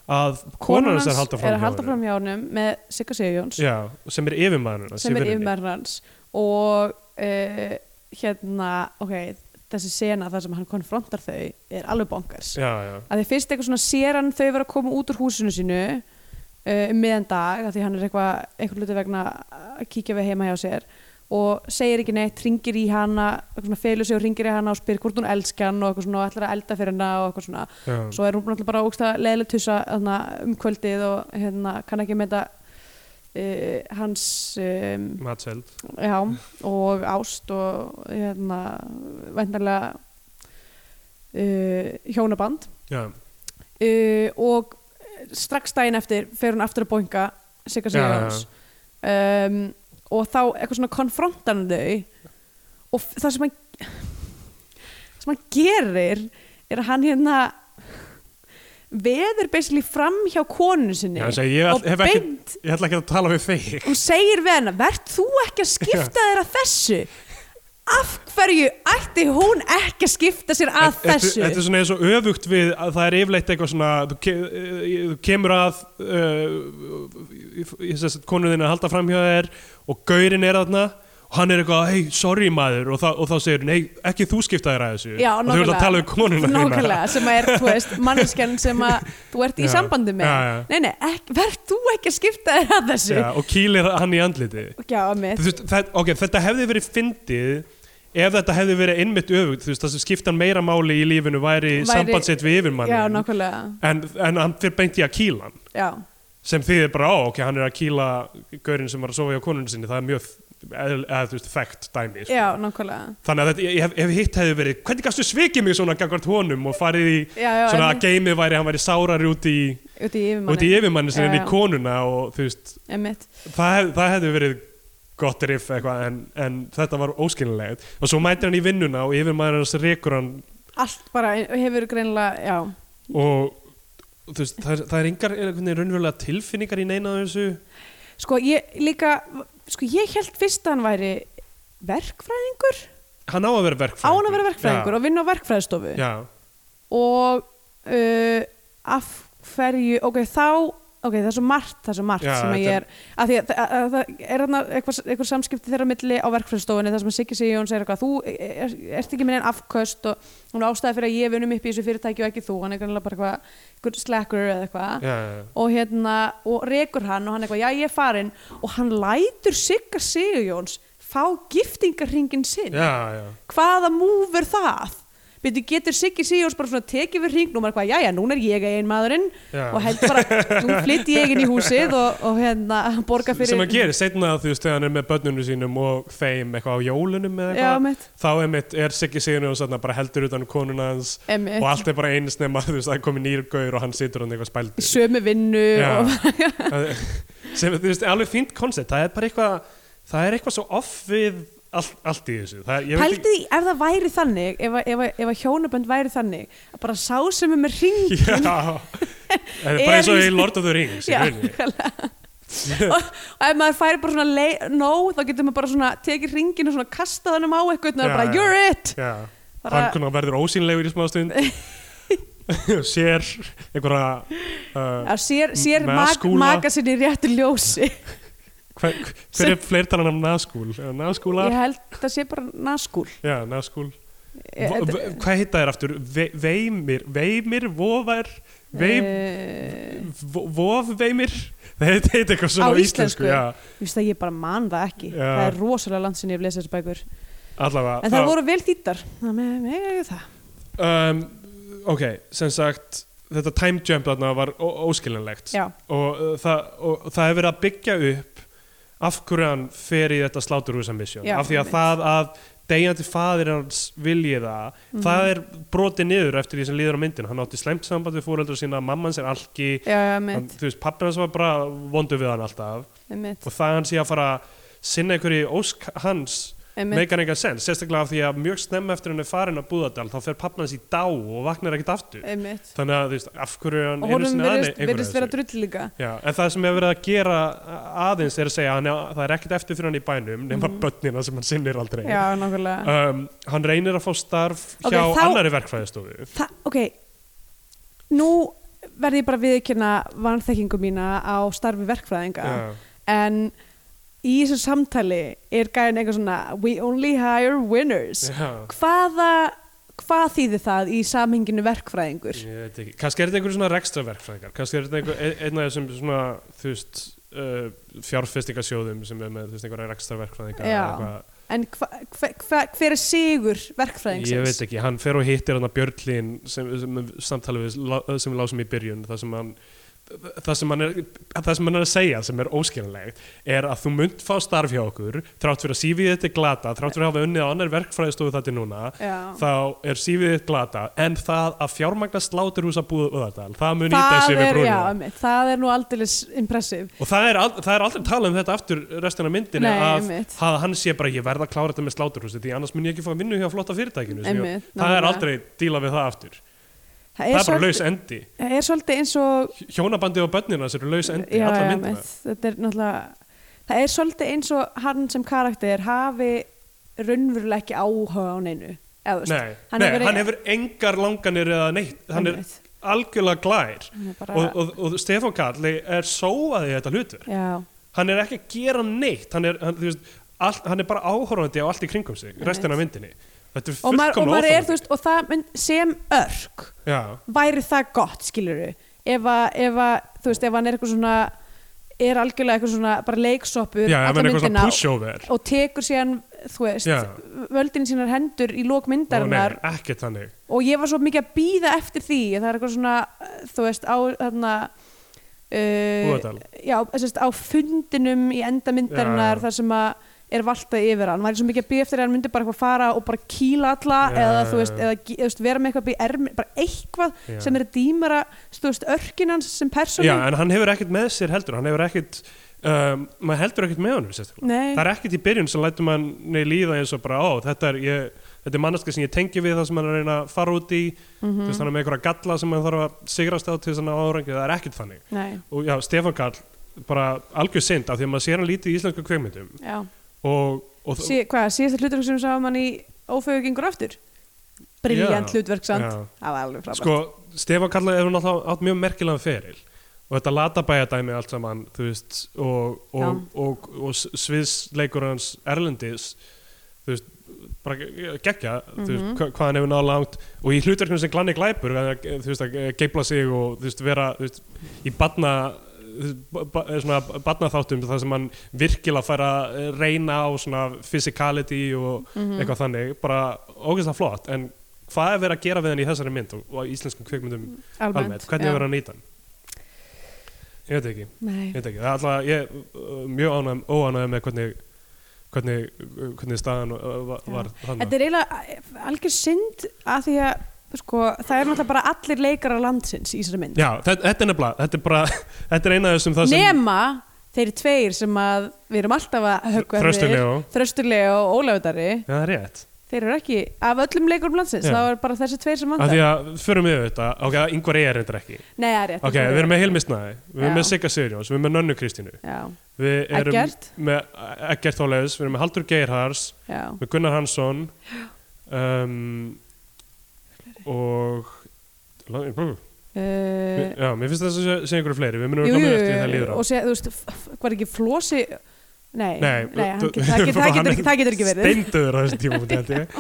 að konan hans er að halda
er að
fram
halda fram hjá honum með Sigga Sigjóns
Já, sem er yfirmaðurinn hans
sem
í
er
vinnunni.
yfirmaður hans og uh, hérna, ok, þessi sena þar sem hann konfrontar þau er alveg bonkers
Já, já,
að þið fyrst eitthvað svona sér hann þau vera að koma út úr húsinu sínu uh, um miðan dag, að því hann er eitthvað eitthvað hluti vegna að kíkja við heima hjá sér og segir ekki neitt, ringir í hana eitthvað svona felur sig og ringir í hana og spyr hvort hún elski hann og eitthvað svona og ætlar að elda fyrir hana og eitthvað svona,
já.
svo er hún náttúrulega bara ógsta leðileg tussa þarna, um kvöldið og hérna kann ekki með þetta hans um,
Matseld
já, og ást og hérna vendarlega uh, hjónaband
Já,
uh, og strax daginn eftir fer hún aftur að boinga Sigga
Já, já, já.
Sigurjóns um, og þá eitthvað svona konfrontar hann þau og f- það sem hann það sem hann gerir er að hann hérna veður basically fram hjá konu sinni
Já, hann segir, ég hef-
og
hef ekki-
beint-
ég ætla ekki að tala við þig
hún segir við hana verð þú ekki að skipta þér að þessu af hverju ætti hún ekki að skipta sér að
Þetta-
þessu
Þetta er svona eins og öfugt við að það er yfirleitt eitthvað svona þú ke eh, þú kemur að eh, uh, konuðin að halda framhjá þér og gaurin er þarna og hann er eitthvað, hei, sorry maður og, þa og þá segir hún, hei, ekki þú skipta þér að þessu
Já,
og þú ert að tala við konuna þína.
Nákvæmlega, sem að er, þú veist, manneskjan sem að þú ert í
Já,
sambandi með
já, já.
Nei, nei, ek, verð þú ekki að skipta þér að þessu
Já, og kýlir hann í andliti
Já, mitt
Þú veist, það, okay, þetta hefði verið fyndið ef þetta hefði verið innmitt öfugt þú veist, það sem skiptan meira máli í lífinu væri,
Væri-
sambandsitt við
Já,
yfirmannin
nákvæmlega,
en, en hann fyrir beint í að kýla hann
já
sem þýðir bara á, ok, hann er að kýla gaurin sem var að sofa hjá konunni sinni, það er mjög eð, eð, veist, þekkt dæmi sko.
Já, nákvæmlega
þannig að þetta, ég, ég hef, ef hitt hefði verið hvernig gafstu svikið mig svona gangvart honum og farið í
Já, já,
svona
en-
að geimið væri, hann væri sárar út í,
Út í
út í
yfirmanni
yfirmanni sinni
Já,
en í
já.
konuna og þú veist
Einmitt.
það, hef, það hefði verið gott riff eitthvað en, en þetta var óskilinlegt og svo mætir hann í vinnuna og yfirmaður hans rekur hann
Allt bara hefur greinilega, já
og þú veist, það, er- það er engar er einhvern veginn raunverulega tilfinningar í neina af þessu
Sko, ég líka, sko, ég held fyrst að hann væri verkfræðingur
hann á að vera
Á
verkfræðingur
hann að vera verkfræðingur og vinna á verkfræðistofu
já,
og uh, af hverju, ok, þá ok, það er svo margt, það er svo margt
Já,
sem að ég
þetta
er að því að, að, að það er þarna eitthvað, eitthvað samskipti þeirra á milli á verkfræðstofunni þar sem að Siggi Sigjón segir eitthvað þú er, er, ert ekki minn en afköst og hún er ástæði fyrir að ég vinnum upp í þessu fyrirtæki og ekki þú hann er grannlega bara eitthvað, eitthvað slackur eða eitthvað
já, já,
og hérna, og rekur hann og hann eitthvað, já ég er farin og hann lætur Sigga Sigjóns fá giftingarringin sinn
já, já.
hvaða múf er það? Byrju, getur Siggi Sigjóns bara svona tekið við hringnum og maður eitthvað, jæja, núna er ég ein maðurinn
Já.
og held bara, nú flytt ég inn í húsið og, og hérna, borga fyrir
sem að gera, setna þú veist, þegar hann er með börnunum sínum og þeim eitthvað á jólunum eða
Já,
eitthvað
mitt,
þá einmitt er Siggi Sigurinn og svona bara heldur utan um konuna hans
emmitt
og allt er bara eins nema þú veist, það er komið nýr gaur og hann situr hann eitthvað spældur
sömu vinnu
Já.
og,
Það- sem þú veist, alveg fínt koncept það er bara eitthvað, það er eitthvað svo off við allt, allt í þessu það er, ég veit
Pældi því ef það væri þannig ef, að- ef, að- ef að hjónabönd væri þannig að bara sá sem er með hring
ekki já, það er bara eins og
Er-
í Lord of the Rings í
Já,
rauninni.
nákvæmlega. og, og ef maður færi bara svona lei, no, þá getur maður bara svona tekið hringin og svona kastað hann um á eitthvað og
Já,
bara,
já.
you're it
já,
Bara-
hann konar verður ósýnlegur í smá stund sér einhverja uh,
að sér, sér mag,
Naskúla.
maga sinni í réttu ljósi
hver, hver er fleirtanan af naskúl Eða naskúlar,
Ég held það sé bara naskúl
já, naskúl
Ég-
V-
þetta-
v- hvað heita þér aftur, Ve veimir veimir, vofar veim,
Eh,
vo- vofveimir það heita heita eitthvað svona
Á
á íslensku,
íslensku?
já,
Þú veist að ég bara man það ekki
Já.
Það er rosalega land sinni ég hef lesið þessar bækur
allavega
En það voru vel þýttar Það með mig er það
um, ok, sem sagt þetta time jump þarna var ó- óskiljanlegt
Já,
og, uh, það, og það hefur verið að byggja upp af hverju hann fer í þetta sláturhúsa mission
Já,
af því að
einmitt.
það að degjandi faðir hans vilji það
Mhm.
það er brotið niður eftir því sem líður á myndin hann átti slæmt samband við fóreldur sína mamma hans er alki
já, já,
hann,
mitt,
þú veist, pappi hans var bara vondu við hann alltaf
mitt.
og það hann sé að fara að sinna einhverju ósk hans
einmitt.
meikar engan sens, sérstaklega af því að mjög snemma eftir hann er farin að Búðardal þá fer pappna hans í dá og vaknar ekkert aftur
einmitt.
þannig að þú veist, af hverju er hann
og
einu
honum
sinni aðeins
virðist, virðist vera drull líka
Já, en það sem hefur verið að gera eh, aðeins er að segja að hann, það er ekkert eftir fyrir hann í bænum nema mm börnina sem hann sinnir aldrei
Mhm. já, nákvæmlega
um, hann reynir að fá starf
Ok,
hjá
þá-
annari verkfræðistofu
Þa, ok, nú verði ég bara að viðkynna vanþekkingu mína á starfi verkfræðinga
Já.
en í þessu samtali er gæðin eitthvað svona we only hire winners
Já.
hvaða hvað þýðir það í samhenginu verkfræðingur
Ég veit ekki. Kannski er þetta einhver svona rekstraverkfræðingar, kannski er þetta einhver, ein- einn af þessum svona, þú veist, uh, fjárfestingasjóðum sem er með, þú veist, einhverja rekstraverkfræðingar
Já.
eða eitthvað.
en hva, hva, hva, hver er sigur verkfræðingsins
Ég veit ekki, hann fer og hittir hann að Björnlín sem, sem samtalið við, lá- sem við lásum í byrjun, það sem hann það sem, hann er, það sem hann er að segja sem er óskiljanlegt er að þú munt fá starf hjá okkur þrátt fyrir að sífið þetta glata þrátt fyrir að hafa unnið á annar verkfræðistofu þetta núna
Já.
þá er sífið þetta glata en það að fjármagna sláturhúsa búðardal það mun nýta
það
þessi við
er, já,
brúnum
einmitt, það er nú aldeilis impressiv
Og það er, al- það er aldrei talað um þetta aftur restina af myndinu
Nei,
að,
einmitt.
að hann sé bara ég verð að klára þetta með sláturhúsi því annars mun ég ekki fá vinnu hjá flotta fyrirtækinu sem
Einmitt,
ég, það er
nákvæmlega.
aldrei díla við það aftur það er bara laus endi
það er svolítið eins og
hjónabandi og börnina sem eru laus endi
já,
alla
já,
myndina
með, þetta er náttúrulega það er svolítið eins og hann sem karakter hafi raunverulega ekki áhuga á neinu eða, þú veist,
nei, hann, nei, hefur hann hefur engar langanir eða neitt hann er
Einmitt.
algjörlega glær
Hann er bara-
og, og, og Stefán Karli er sóaði í þetta hlutverk
já,
hann er ekki að gera neitt hann er, hann, þú veist, all, hann er bara áhorfandi á allt í kringum sig restina af myndinni þetta er
og maður, og
fullkomlega
maður er, þú
óþolandi
veist, og það mynd, sem örk
já
væri það gott, skilur við ef, að, ef, að, þú veist, ef hann er eitthvað svona er algjörlega eitthvað svona bara
Já, ef
leiksoppur alla
hann er eitthvað svona
myndina
pushover
og tekur síðan, þú veist
Já.
völdin í sínar hendur í lók
Ó,
myndarinnar
nei, ekkert þannig
og ég var svo mikið að býða eftir því það er eitthvað svona, eh, þú veist, á þarna uh,
Búðardal.
já, sérst, á fundinum í enda
Já,
myndarinnar
já.
þar sem að er valtað yfir hann, maður er svo mikið að býða eftir að hann myndi bara eitthvað fara og bara kýla alla
Já,
eða
já,
þú veist,
já.
eða gi- þú veist, vera með eitthvað upp í ermi, bara eitthvað
Já.
sem er að dýmara, þú veist, örkin hans sem persónu
Já, en hann hefur ekkert með sér heldur hann hefur ekkert um, maður heldur ekkert með honum sérstaklega
Nei,
það er ekkert í byrjun sem lætur manni líða eins og bara ó, þetta er, ég, þetta er manneska sem ég tengi við það sem hann er að reyna að fara út í þú veist, hann er með einhverja galla sem hann þarf að sigrast á til þess að ná árangi, það er ekkert þannig
nei,
og já, Stefán Karl, bara algjör synd af því að maður sér hann lítið í íslensku kveikmyndum
já
og, og
sí, Hvað, síðasta hlutverk sem við sáum hann í ófögur gengur aftur? Briljant
Já,
hlutverk samt,
já.
það var alveg frábært
sko, Stefán Karl er hún alltaf átt mjög merkilegan feril og þetta latabæjadæmi allt saman þú veist, og, og, og, og, og sviðsleikur hans Erlendis þú veist, bara gegja þú veist, hva- hvað hann hefur náð langt og í hlutverknum sem glanni glæpur hann er, þú veist, að geipla sig og þú veist, vera þú veist, í batna eh, svona batnaþáttum þar sem hann virkilega fær að eh, reyna á svona physicality og eitthvað þannig bara ógeðslega flott en hvað er verið að gera við hann í þessari mynd og, og í íslenskum kvikmyndum
Almennt,
almennt, hvernig
já.
er verið að nýta hann ég veit ekki
Nei,
ég veit ekki, það er alltaf ég uh, mjög ánægð, óánægð með hvernig hvernig, hvernig staðan uh, var,
Já.
var þannig
Þetta er eiginlega eh, algjör synd að því að sko, það er náttúrulega bara allir leikarar landsins í þessari mynd.
Já, þetta, þetta er nefnilega, þetta er bara þetta er eina af þessum það sem
Nema þeir tveir sem að við erum alltaf að höggva
Þröstur Leó.
Þröstulega og Ólafudari,
Já, það er rétt
þeir eru ekki af öllum leikarum landsins,
Já.
þá er bara þessi tveir sem
af
vantar.
því að förum við þetta, ok, yngvar er reyndar ekki
Nei, það er rétt.
ok, við erum með Hilmisnæði, við
E. Já.
erum með Sigga Sigurjóns við erum með Nönnu Kristínu,
Já,
við erum
Eggert.
með Eggert Óleifs, við erum með Haldur Geirhars
já.
með Gunnar Hansson um, og
Uh,
Já, mér finnst þess að segja einhverju fleiri, við munum
jú,
að
jú,
koma eftir því það
jú,
líður á.
og sé, þú veist, f- f- var ekki flosi... Nei,
Nei,
nei hann
þú-
get- það getur- það getur ekki- það getur ekki verið.
Steinduður á þessum tíma, held ég.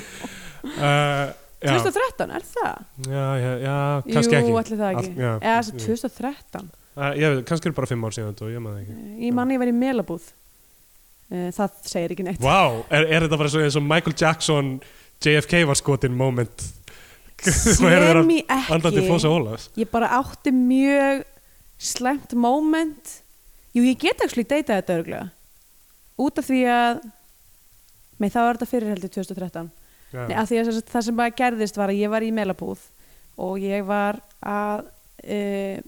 Uh, já,
2013, er það?
já, já, já, kannski
Jú,
ekki.
allir það ekki.
já,
Eða þessi 2013.
Uh, ég veit, kannski eru bara fimm ár síðan þetta og ég maður það ekki.
Ég manni ég var í Melabúð. Eh, Það segir ekki neitt.
Vá, er, er þetta bara svo eins og Michael Jackson JFK var skotin moment?
Sem ég
Andandi Fossa
ekki.
Ólafs.
Ég bara átti mjög slemt moment. Jú, ég get ekki deyta þetta örgulega. Út af því að með það var þetta fyrir heldur 2013.
Já.
Nei, af því að sem sagt það sem bara gerðist var að ég var í Melabúð og ég var að uh,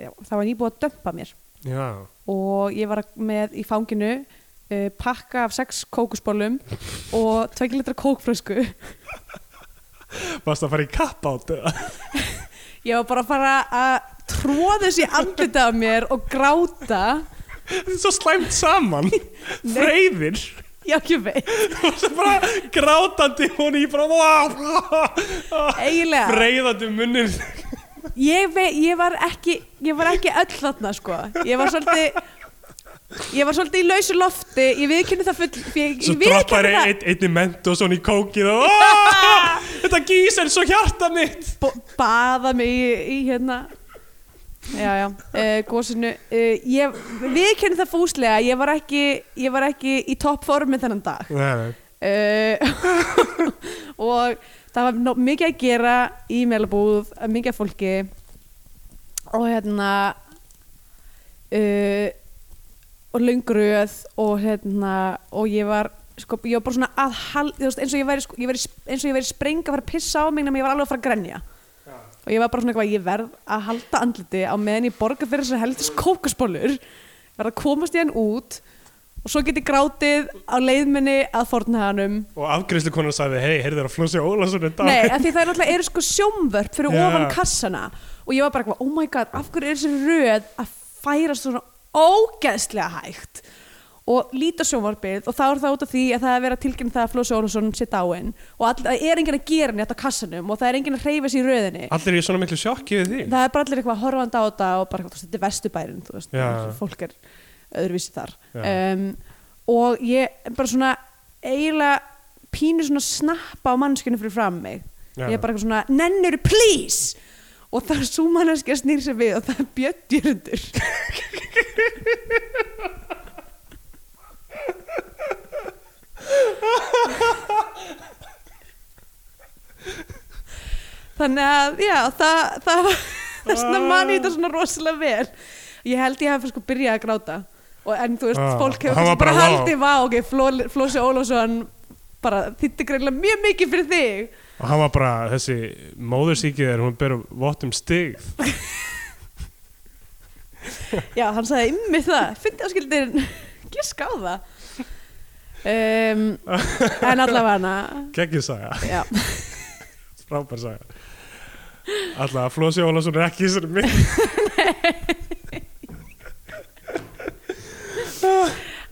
já, það var nýbúið að dömpa mér.
já,
og ég var með í fanginu uh, pakka af sex kókusbólum og 2 litra kókfrösku
Varst að fara í kapp át eða?
ég var bara að fara að tróða þessi andlita af mér og gráta
Þetta er svo slæmt saman Freyðir
já ekki veit,
Varst að bara grátandi hún í bara wow,
eiginlega
Freyðandi munnin
ég, vei, ég var ekki ég var ekki öll þarna sko ég var svolítið ég var svolítið í lausu lofti ég viðkynni það full ég,
Svo droppar
ég viðurkenni það
ein, einni ment og svona í kókið og "Ah, Þetta gís er svo hjarta mitt
bo- baða mig í, í hérna já já, uh, gósinu uh, ég viðkynni það fúslega ég var ekki, ég var ekki í toppformi þennan dag
Nei, nei
uh, og það var nóg, mikið að gera í meilabúð, mikið að fólki og hérna uh, og löngröð og hérna og ég var sko, ég var bara svona að hal, þú veist, eins og ég væri, sko, ég væri eins og ég væri spreng að fara að pissa á mig nema ég var alveg að fara að grenja og ég var bara svona eitthvað, ég verð að halda andliti á meðan ég borga fyrir þessar heldis kókasbólur verð að komast í hann út og svo get ég grátið á leiðminni að fornhaganum
Og afgriðslu konar sagði, hei, heyrðu þér að flósi Ólason er dag
Nei, af því það er náttúrulega eru sko sjómvörp fyrir
Já.
ofan kassana og ég var bara eitthvað, oh my god, af hverju er þessi röð að færa svona ógeðslega hægt og líta sjónvarpið og þá er það út af því að það er verið að tilkynna það að Flósi Ólafsson sé dáinn og all, það er enginn að gera neitt á kassanum og það er enginn að hreyfa sér í röðinni
Allir er í svona miklu sjokki við því
það er bara allir eitthvað horfandi á þetta og bara, þú veist, þetta er vestubærin þú veist,
Já.
fólk er öðruvísi þar
Já.
um, og ég bara svona eiginlega pínu svona snappa á mannskinu fyrir fram mig
Já.
ég er bara eitthvað svona, nennur, please og það er svo manneskja snýr sér við og það er bjöttjörundur þannig að, já, það, það var þessna manni
Ah.
þetta svona rosalega vel ég held ég hafi sko byrjað að gráta og, en þú veist,
Ah,
fólk
og
hefur
hann var
kannski bara
bara, vá.
haldið vá, ok, Fló- Flósi Ólafsson bara þýtti greinlega mjög mikið fyrir þig
Og hann var bara, þessi móðursíkið er, hún berum vottum stig
já, hann sagði ymmi það, fyndi áskildir giska á það um, en allavega hana
Gekkið saga,
já,
frábær saga Alla, Flósi Ólason er ekki í þessari mynd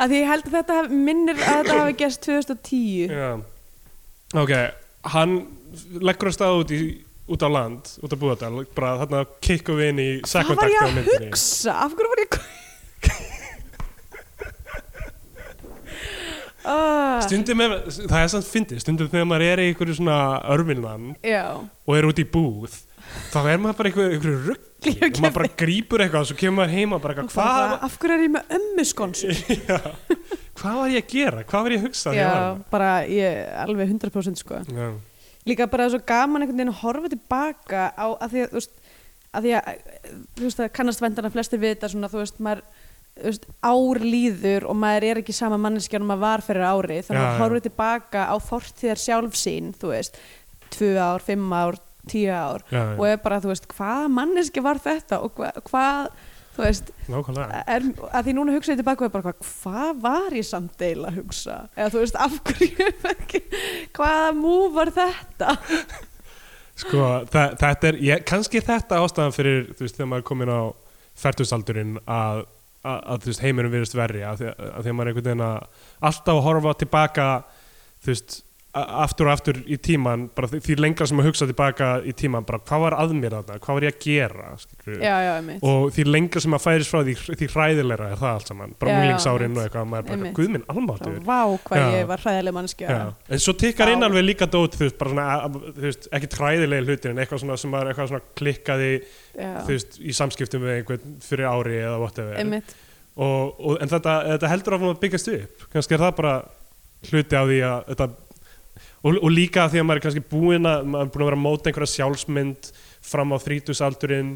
að því ég held að þetta hafi- minnir að þetta hafi gerst 2010
Já. Ok, hann leggur að staða út, í, út á land, út á búðardal, bara þarna kikkum við inn í
það var
sekundakti á
ég að
myndinni.
hugsa af hverju var ég að
Stundum, ef, það er samt fyndið, stundum þegar maður er í einhverju svona örvinnan
já
og er út í búð, þá er maður bara í einhverju, einhverju ruggli
Ég
og maður bara grípur eitthvað og svo kemur maður heima bara
Og
eitthvað,
bara,
hvað,
af hverju er ég með ömmu skonsu
hvað var ég að gera, hvað var ég að hugsa
já,
þegar ég var
bara ég alveg 100% sko
þarna?
líka bara svo gaman einhvern veginn að horfa tilbaka á að því að þú veist að því að þú veist að kannast vendana flestir við þetta svona þú veist maður þú veist, ár líður og maður er ekki sama manneskja en maður var fyrir ári þannig
Já,
að
já.
horfa tilbaka á fortíðar sjálf sín þú veist, tvö ár, fimm ár tíu ár
Já, já.
og er bara þú veist hvað manneskja var þetta og hva, hvað þú veist
Já, nákvæmlega.
er, að því núna hugsa ég tilbaka og er bara hvað, hvað var ég samt deila að hugsa eða þú veist af hverju ekki, hvaða mú var þetta
Sko, þa- þetta er, ég, kannski þetta ástæðan fyrir, þú veist, þegar maður er komin á færtusaldurinn að, að, að þú veist, heiminum virðist verri, að, því- að því að maður er einhvern veginn að alltaf að horfa tilbaka, þú veist, a- aftur og aftur í tíman, bara því, því lengra sem maður hugsa tilbaka í tíman, bara hvað var að mér þarna, hvað var ég að gera, skilur
já, já, einmitt
og því lengra sem maður færis frá því, því hræðilegra er það allt saman, bara
Já, já,
múlingsárin og
einmitt.
eitthvað, maður er bara,
Einmitt.
guð minn, almáttur
Bara, vá hvað
Já.
ég var hræðileg mannskja
Já. En svo tikkar
Já.
inn alveg líka dót þú veist, bara svona, að- að- þú veist, ekki træðilegi hlutir en eitthvað svona sem maður eitthvað svona klikkaði þú veist, í samskiptum við einhvern fyrir ári eða whatever
einmitt
Mm. og, og, en þetta, þetta heldur áfram að byggjast upp kannski er það bara hluti af því að þetta, og, og líka af því að maður er kannski búinn að maður er búinn að vera að móta einhverja sjálfsmynd fram á þrítusaldurinn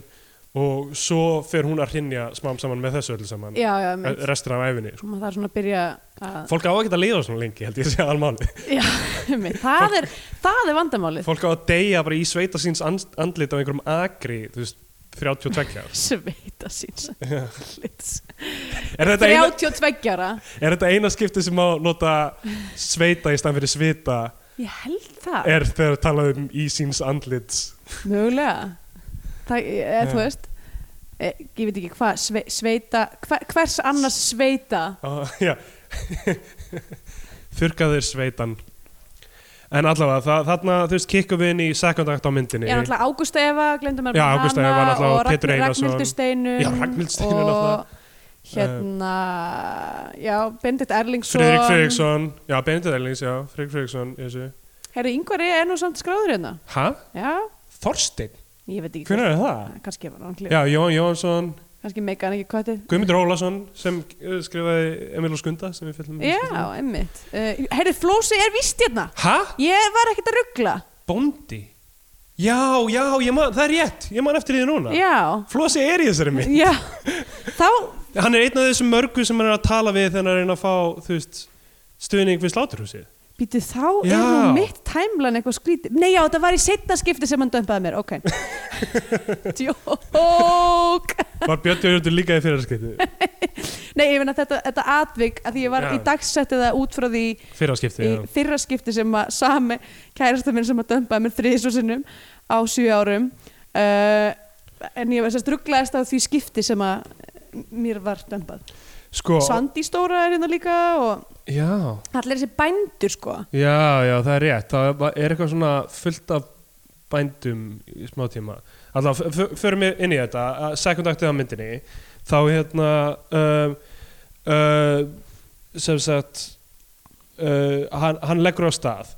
og svo fer hún að hrinja smám saman með þessu öllu saman
já, já, einmitt
restur af æfinni sko.
Svo maður þarf svona að byrja að
fólk á ekki að liða svona lengi held ég að segja almáli
já, einmitt það er, það er vandamálið
fólk á að deyja bara í sveita síns and- andlit á einhverjum agri þú veist, 32 ára
sveita síns andlits.
er þetta, eina,
32 ára
er þetta eina skipti sem má nota sveita í staðan fyrir svita
ég held það,
er þegar talað um í síns andlits
mögulega það, eða, þú
Já.
veist e, ég veit ekki hvað sve, sveita hver, hvers annars sveita
Á, Ah, Já Þurkaður sveitan En allavega, það, þarna, þú veist, kikkum við inn í second act á myndinni
Já, náttúrulega Ágústa Eva, glemdum að
Já,
nefna
Ágústa
hana
Eva, náttúrulega, og
og
Pétur Einarsson.
Ragnhildur Steinun
Já, Ragnhildur Steinunn, náttúrulega.
og hérna, já, Bendit Erlingsson
Friðrik Friðriksson, já, Benedikt Erlings, já, Friðrik Friðriksson í þessu.
Herri, Ingvar er nú samt skráður hérna
Hæ?
Já,
Þorstein?
ég veit ekki
Hvernig er það?
hvort- Kannski var hann hljóð,
Já, Jón Jónsson,
kannski meika hann ekki kvættið
Guðmundur Ólason sem eh, skrifaði Emil og Skunda sem við um fjöldum
Já, einmitt uh, Herri, Flósi er vist hérna
Hæ?
Ég var ekkert að ruggla
Bóndi? Já, já, ég man, það er rétt, ég man eftir því núna.
Já,
Flósi er í þessari mynd.
já Þá,
Hann er einn af þessum mörgu sem hann er að tala við þegar hann er að reyna að fá, þú veist, stuðning við sláturhúsið.
býtu þá
Já.
er nú mitt tæmlan eitthvað skrítið Nei, já, þetta var í setna skipti sem hann dömpaði mér, ok Djók
Var Björn Jörgur líka í fyrirskiptið?
Nei, ég finna þetta, þetta atvik að því ég var
Já.
í dagsetti það út frá því í
Fyrirskiptið, já.
fyrra skipti sem að sami kærasta minn sem að dömpaði mér þriðis sinnum á sjö árum uh, en ég var sérst rugglaðist af því skipti sem að mér var dömpað
Sko,
Sandi Stóra er hérna líka og
já,
allir þessi bændur sko
já, já, það er rétt. Það er eitthvað svona fullt af bændum í smá tíma. Alltaf, förum við inn í þetta, að second actið á myndinni, þá hérna, um, uh, sem sagt, uh, hann, hann leggur á stað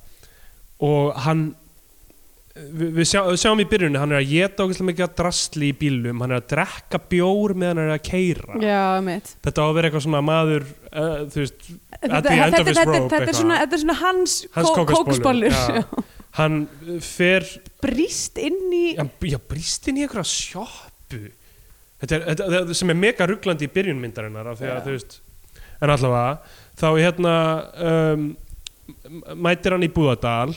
og hann, við, við, sjá, við sjáum í byrjunni, hann er að geta okkur mikið að drastli í bílum, hann er að drekka bjór meðan hann er að keira.
Já, mitt
Þetta á að vera eitthvað svona maður, uh, þú veist,
Þetta,
the end
þetta,
of his
þetta,
rope,
þetta, er
eitthvað.
svona, þetta er svona hans,
hans
kó-
kókasbollur
kókasbollur
já. hann uh, fer
Brýst inn í
já, já brýst inn í einhverja sjoppu þetta er, þetta, þetta, sem er mega rugglandi í byrjun myndarinnar af því að
Já.
þú veist en allavega, þá hérna um, m- mætir hann í Búðardal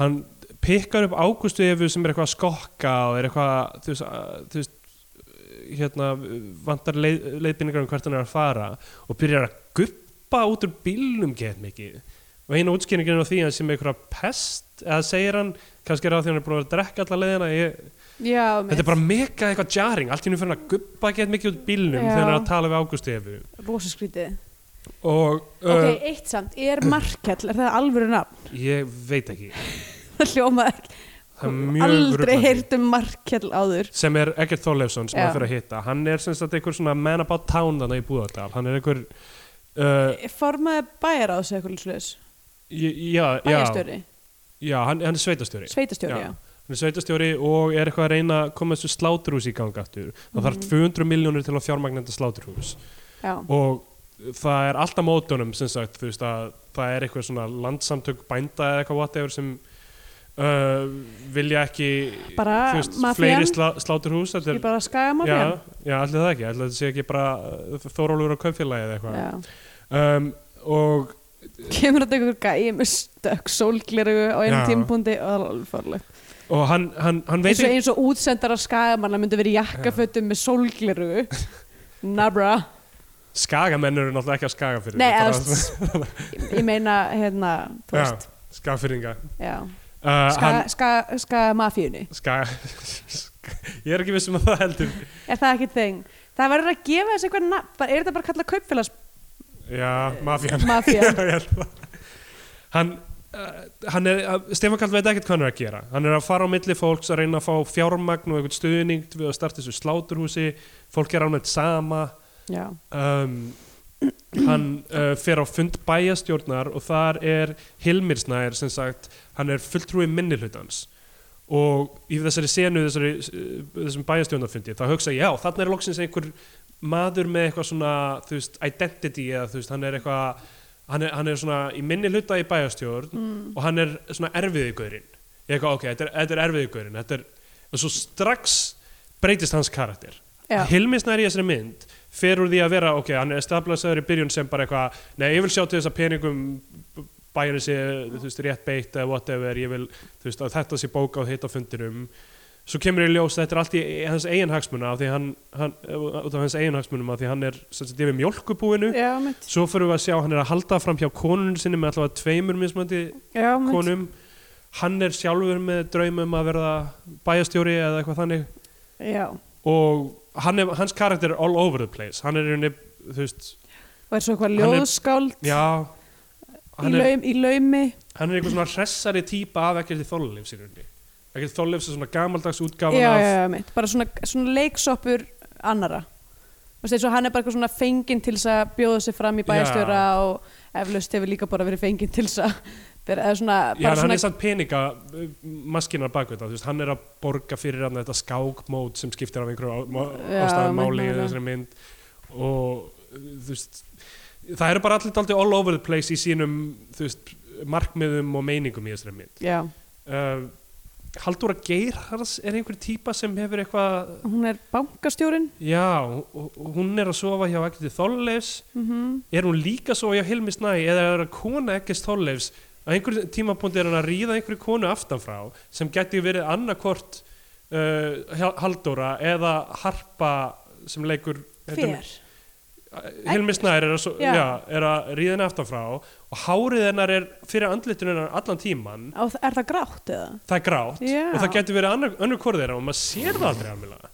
hann pikkar upp Ágústu Efu sem er eitthvað að skokka og er eitthvað þú veist, að, þú veist hérna vantar leið, leiðbynningar um hvert hann er að fara og byrjar að guppa út úr bílnum gett mikið og einu útskýringin á því að sem einhverja pest eða segir hann, kannski er það af því hann er búin að vera að drekka alla leiðina ég,
Já,
þetta
mitt,
er bara mega eitthvað jarring allt í hennu fyrir hann að guppa gett mikið út úr bílnum
Já.
þegar hann er að tala við Ágústu Efu
rosa skrítið
og
Ok, eitt samt, er Markell, er það alvöru nafn?
uh, ég veit ekki
Það hljómaði ekki
það er mjög
aldrei
ruglandi.
heyrt um Markell áður
sem er Egert Þorleifsson sem
Já.
hann fyrir að hitta hann er sem sagt einhver svona man about town þannig í Búðardal hann er einhver uh,
Formaði bæjar á þessu eitthvað slöðs
j- já, já,
Bæjarstjóri,
já, hann, hann er sveitastjóri
sveitastjóri, já,
hann er sveitastjóri og er eitthvað að reyna að koma þessu sláturhús í gang aftur það
Mhm.
þarf 200 miljónir til að fjármagnenda sláturhús
já.
og það er alltaf mótunum sem sagt, þú veist að það er eitthvað svona landsamtök bænda eða eitthvað whatever sem uh, vilja ekki
Bara
þú veist,
mafían?
fleiri slá, sláturhús þetta
Ég
er-
bara hérna. skæða maður
já, já, allir það ekki, allir það sé ekki bara uh, Þórólfur og Kaupfélagi eða eitthvað
Já.
um, og
Kemur þetta einhver gæi með stökk sólglerugu á einum
Já.
tímpúndi og það er alveg farlegt
og hann, hann, hann veit
eins og, eins og útsendara skæðamanna myndi verið jakkafötum með sólglerugu Nabra
skagamenn eru náttúrulega ekki að skaga fyrir
Nei, eða, þú veist, ég meina hérna, þú
já,
veist
skagfyrringa
já.
uh, hann,
Skaga ska, ska mafíunni
skaga ég er ekki viss um að það heldur
Er það ekki þeng? Það verður að gefa þessi eitthvað nafn, bara- er þetta bara að kalla kaupfélags
já, mafían
Mafían.
Já, ég held það. hann, uh, hann er, uh, Stefán Kall veit ekkert hvað hann er að gera hann er að fara á milli fólks að reyna að fá fjármagn og einhvern stuðning við að starta þessu sláturhúsi fólk er almennt sama
Já,
um, hann uh, fer á fund bæjastjórnar og þar er Hilmir Snær sem sagt, hann er fulltrúi minnihlutans og í þessari senu þessari, uh, þessum bæjastjórnarfundi þá hugsa ég, já, þarna er loksins einhver maður með eitthvað svona þú veist, identity eða þú veist, hann er eitthvað hann er, hann er svona í minnihluta í bæjastjórn og hann er svona erfiðugurinn ég eitthvað, ok, þetta er, þetta er erfiðugurinn þetta er, og svo strax breytist hans karakter
Já.
Hilmi Snær í þessari mynd fer úr því að vera, ok, hann er stablasaður í byrjun sem bara eitthvað, nei, ég vil sjá til þess að peningum bæjarinn sé, þú veist, rétt beitt eða whatever, ég vil, þú veist, að þetta sé bóka og heita fundinum svo kemur í ljós að þetta er allt í hans eigin hagsmuna af því hann, hann út af hans eigin hagsmunum af því hann er sem sagt yfir mjólkubúinu
já, mitt,
svo fyrir við að sjá hann er að halda fram hjá konunum sinni með allavega tveimur mismandi
já, mitt.
konum hann er sjálfur með draumum að verða bæjastjóri eða eitthvað þannig
já,
og hann er, hans karakter er all over the place hann er í rauninni, þú veist
og er svo eitthvað
Hann er-
ljóðskáld
já,
í,
hann er,
laum, í laumi
hann er einhver svona hressari típa af ekkert í þorleifs í rauninni ekkert þorleifs er svona gamaldags
já,
útgáfan
já,
af
já, mitt, bara svona, svona leiksoppur annara Þú veist, eins og hann er bara eitthvað svona fenginn til þess að bjóða sig fram í bæjarstjóra og eflaust hefur líka bara verið fenginn til þess að vera- eða svona,
Já, en
bara
hann
svona
er samt peninga uh, maskinar bakvið það, þú veist, hann er að borga fyrir hann þetta skákmót sem skiptir af einhverju á- má-
Já,
ástæðum
mitt
máli í
máli.
þessari mynd og uh, þú veist það eru bara allir dálítið all over the place í sínum þú veist, markmiðum og meiningum í þessari mynd
já,
uh, Halldóra Geirhars er einhver típa sem hefur eitthvað
hún er bankastjórin
já, hú- hún er að sofa hjá ekkert þolleifs
mm
er hún líka svo hjá Hilmi Snæ eða er það kona ekkert Þorleifs á einhverjum tímapunkti er hann að ríða einhverju konu aftanfrá sem geti verið annarkort uh, Hjal- Halldóra eða Harpa sem leikur Eh,
hver?
Hilmi Snær er að, svo,
Já.
já. er að ríða henni aftanfrá og hárið hennar er fyrir andlitinu hennar allan tíman
Á, er það grátt eða?
það er grátt
Já.
og það getur verið annar, önnur hvort þeirra og maður sér það aldrei alveg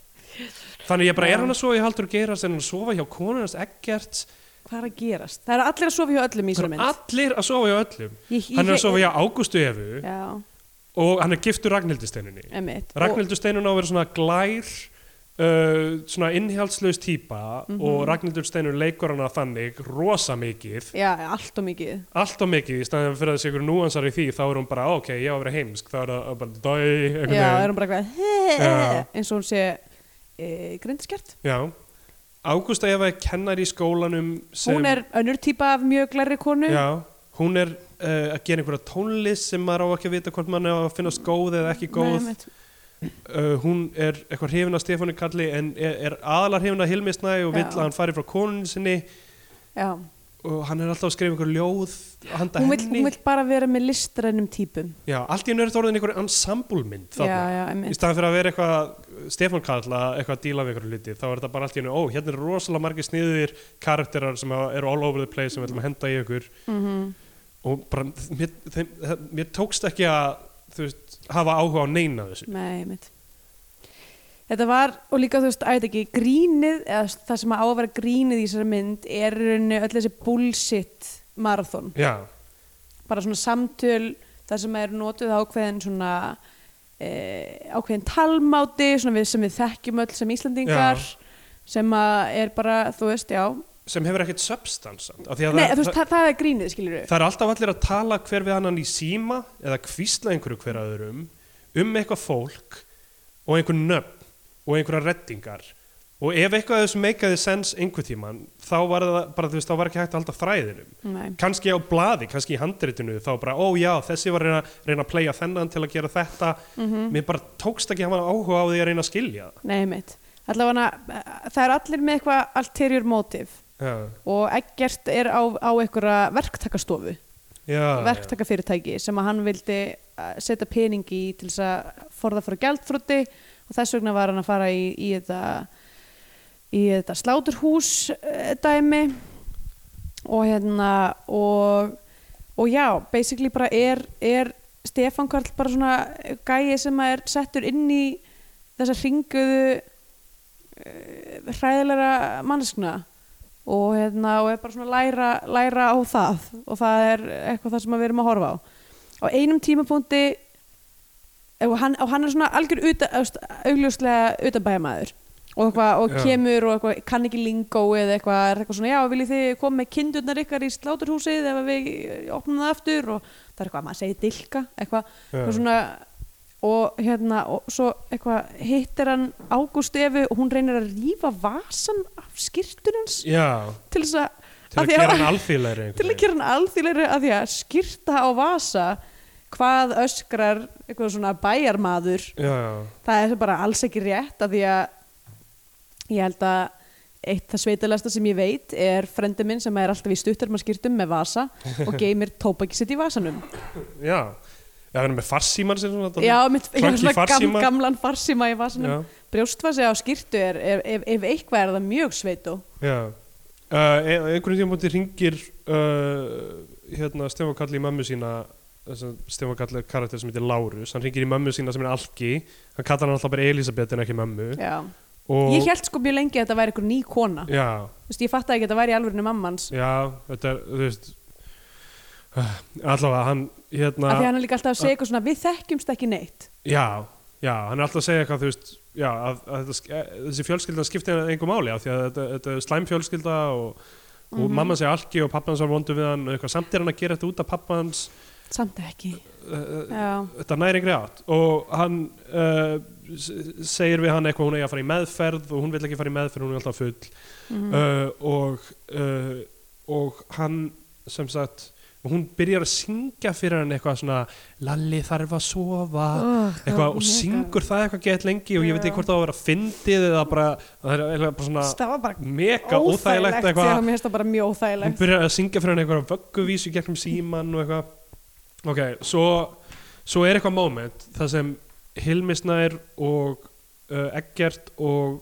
þannig ég bara er hann að sofa í Halldór Geiras er hann að sofa hjá konunars Eggerts
Hvað er að gerast? Það eru allir að sofa hjá öllum í
það er
þessari mynd
allir að sofa hjá öllum
Ég- ég-
hann er að sofa hjá Ágústu Efu
Já,
og hann er giftur Ragnhildisteininni
emitt
Ragnhildisteinun á að vera svona glær uh, svona innhjálpslaus típa
Mhm.
og Ragnhildisteinun leikur hana þannig rosa mikið
Já, allt og mikið
allt og mikið í staðan fyrir að þessi ykkur núansar í því þá er hún bara "Ó, ok, ég á að vera heimsk þá er það bara dæ einhvern
Já,
veginn."
er hún bara eitthvað
Já.
eins og hún sé e, grindiskert
Já. Ágústa Eva er kennar í skólanum sem,
Hún er önnur típa af mjög glæri konu
já, hún er uh, að gera einhverja tónlist sem maður á ekki að vita hvort mann er að finnast góð eða ekki góð
Nei, einmitt.
uh, hún er eitthvað hrifin af Stefáni Kalli en er, er aðalar hrifin af Hilmi Snæ og vill
Já.
að hann fari frá konun sinni
Já.
og hann er alltaf að skrifa einhver ljóð að handa
Hún, vill,
henni
hún vill bara vera með listrænum típum
Já, allt í nörð orðin einhver ensemblemynd
Já,
þarna
já,
í
emitt
staðan fyrir að vera eitthvað Stefán Kall að eitthvað að díla við einhverju liti þá er þetta bara allt í hennu, ó, hérna er rosalega margir sniðir karakterar sem hafa- eru all over the place sem við ætlum að henda í ykkur
Mhm.
og bara, mér, þeim, mér tókst ekki að þú veist, hafa áhuga á neina af þessu
Nei, emitt Þetta var, og líka þú veist, að þetta ekki grínið, eða það sem á að vera grínið í þessari mynd er í rauninni öll þessi bullshit marathon
Já,
bara svona samtöl þar sem er notuð ákveðin svona e, ákveðin talmáti svona við, sem við þekkjum öll sem Íslandingar
Já.
sem að er bara, þú veist, já
sem hefur ekkert substans samt, af því að
Nei,
það-
þú veist, það, það er grínið, skilur við
Það er alltaf allir að tala hver við annan í síma eða kvísla einhverju hver að öðrum um eitthvað fólk og einhver nöfn og einhverja reddingar og ef eitthvað af þessu meikaði sens einhver tíman þá var það bara þú veist þá var ekki hægt að halda þræðinum
Nei,
kannski á blaði, kannski í handritinu þá bara ó já þessi var að reyna, reyna að playa þennan til að gera þetta
Mhm.
mér bara tókst ekki að hafa áhuga á því að reyna að skilja
nei, mitt Allavega, það er allir með eitthvað ulterior motive
það
og ekkert er á, á einhverja verktakastofu,
já,
verktakafyrirtæki sem að hann vildi eh, setja pening í til þess að forða frá gjaldfrúti og þess vegna var hann að fara í, í þetta í þetta sláturhús eh, dæmi og hérna og, og já, basically bara er, er Stefán Karl bara svona gæi sem að er settur inn í þessa hringuðu uh, hræðilega manneskna og hérna og er bara svona að læra, læra á það og það er eitthvað það sem að við erum að horfa á á einum tímapunkti og hann, og hann er svona algjör uta, öst- augljóslega utanbæjamaður og, eitthvað, og
Já.
kemur og eitthvað, kann ekki lingó eða eitthvað, er eitthvað svona, já, viljið þið koma með kindurnar ykkar í sláturhúsið ef við opnum það aftur og það er eitthvað, maður segir dilka eitthvað,
Já.
eitthvað svona og hérna, og svo eitthvað hittir hann Ágúst Efu og hún reynir að rífa vasan af skýrtunans
já,
til þess að
til
af
að
því
gera hann alþýðlegri
til að gera hann alþýðlegri að því að skýrta á vasa hvað öskrar eitthvað svona bæjarmaður
já, já
það er bara alls ekki rétt af því að ég held að eitt það sveitalæsta sem ég veit er frendi minn sem er alltaf í stuttarmaskýrtum með vasa og geymir tóbaki sitt í vasanum
Já, Já, hann er með farsíman sem svona
Já, mitt, ég
Clunky
var svona gam,
farsíma.
gamlan farsíma í vasanum.
Já.
Brjóstvasi á skýrtu er, er ef, ef eitthvað er það mjög sveitu.
Já, uh, e- einhvern tíma búin ringir uh, hérna Stefán Kalli í mömmu sína Stefán Kalli er karakter sem heitir Lárus hann ringir í mömmu sína sem er Alki hann kallar hann alltaf bara Elisabeth en ekki mömmu
Já.
og
Ég held sko mjög lengi að þetta væri einhver ný kona.
já,
Þú veist, ég fattaði ekki að þetta væri í alvörinu mammans.
já, þetta er þú veist uh, allavega hann hérna
Af því hann er líka alltaf að segja eitthvað svona, við þekkjumst ekki neitt.
já, já, hann er alltaf að segja eitthvað þú veist já, að, að, þetta sk- eh, þessi fjölskylda skipti einhver máli af því að þetta, þetta er slæm fjölskylda og, og mamma segja Alki og pappa hans var vondu við hann og eitthvað samt er hann að gera þetta út af pappa hans
Samt ekki.
uh,
Já.
þetta næri yngri átt og hann uh, s- segir við hann eitthvað hún eigi að fara í meðferð og hún vil ekki fara í meðferð, hún er alltaf full uh, og uh, og hann sem sagt hún byrjar að syngja fyrir hann eitthvað svona Lalli þarf að sofa
Oh,
Ah, eitthvað og syngur það eitthvað gett lengi og ég veit
Já.
ekki hvort það á að vera fyndið eða bara, það er eiginlega bara svona
Það var bara
mega óþægilegt eitthvað
Já, mér finnst það bara mjög
hún
óþægilegt.
byrjar að syngja fyrir hann einhverja vögguvísu gegnum síman og eitthvað ok, svo, svo er eitthvað moment það sem Hilmisnær og uh, Eggert og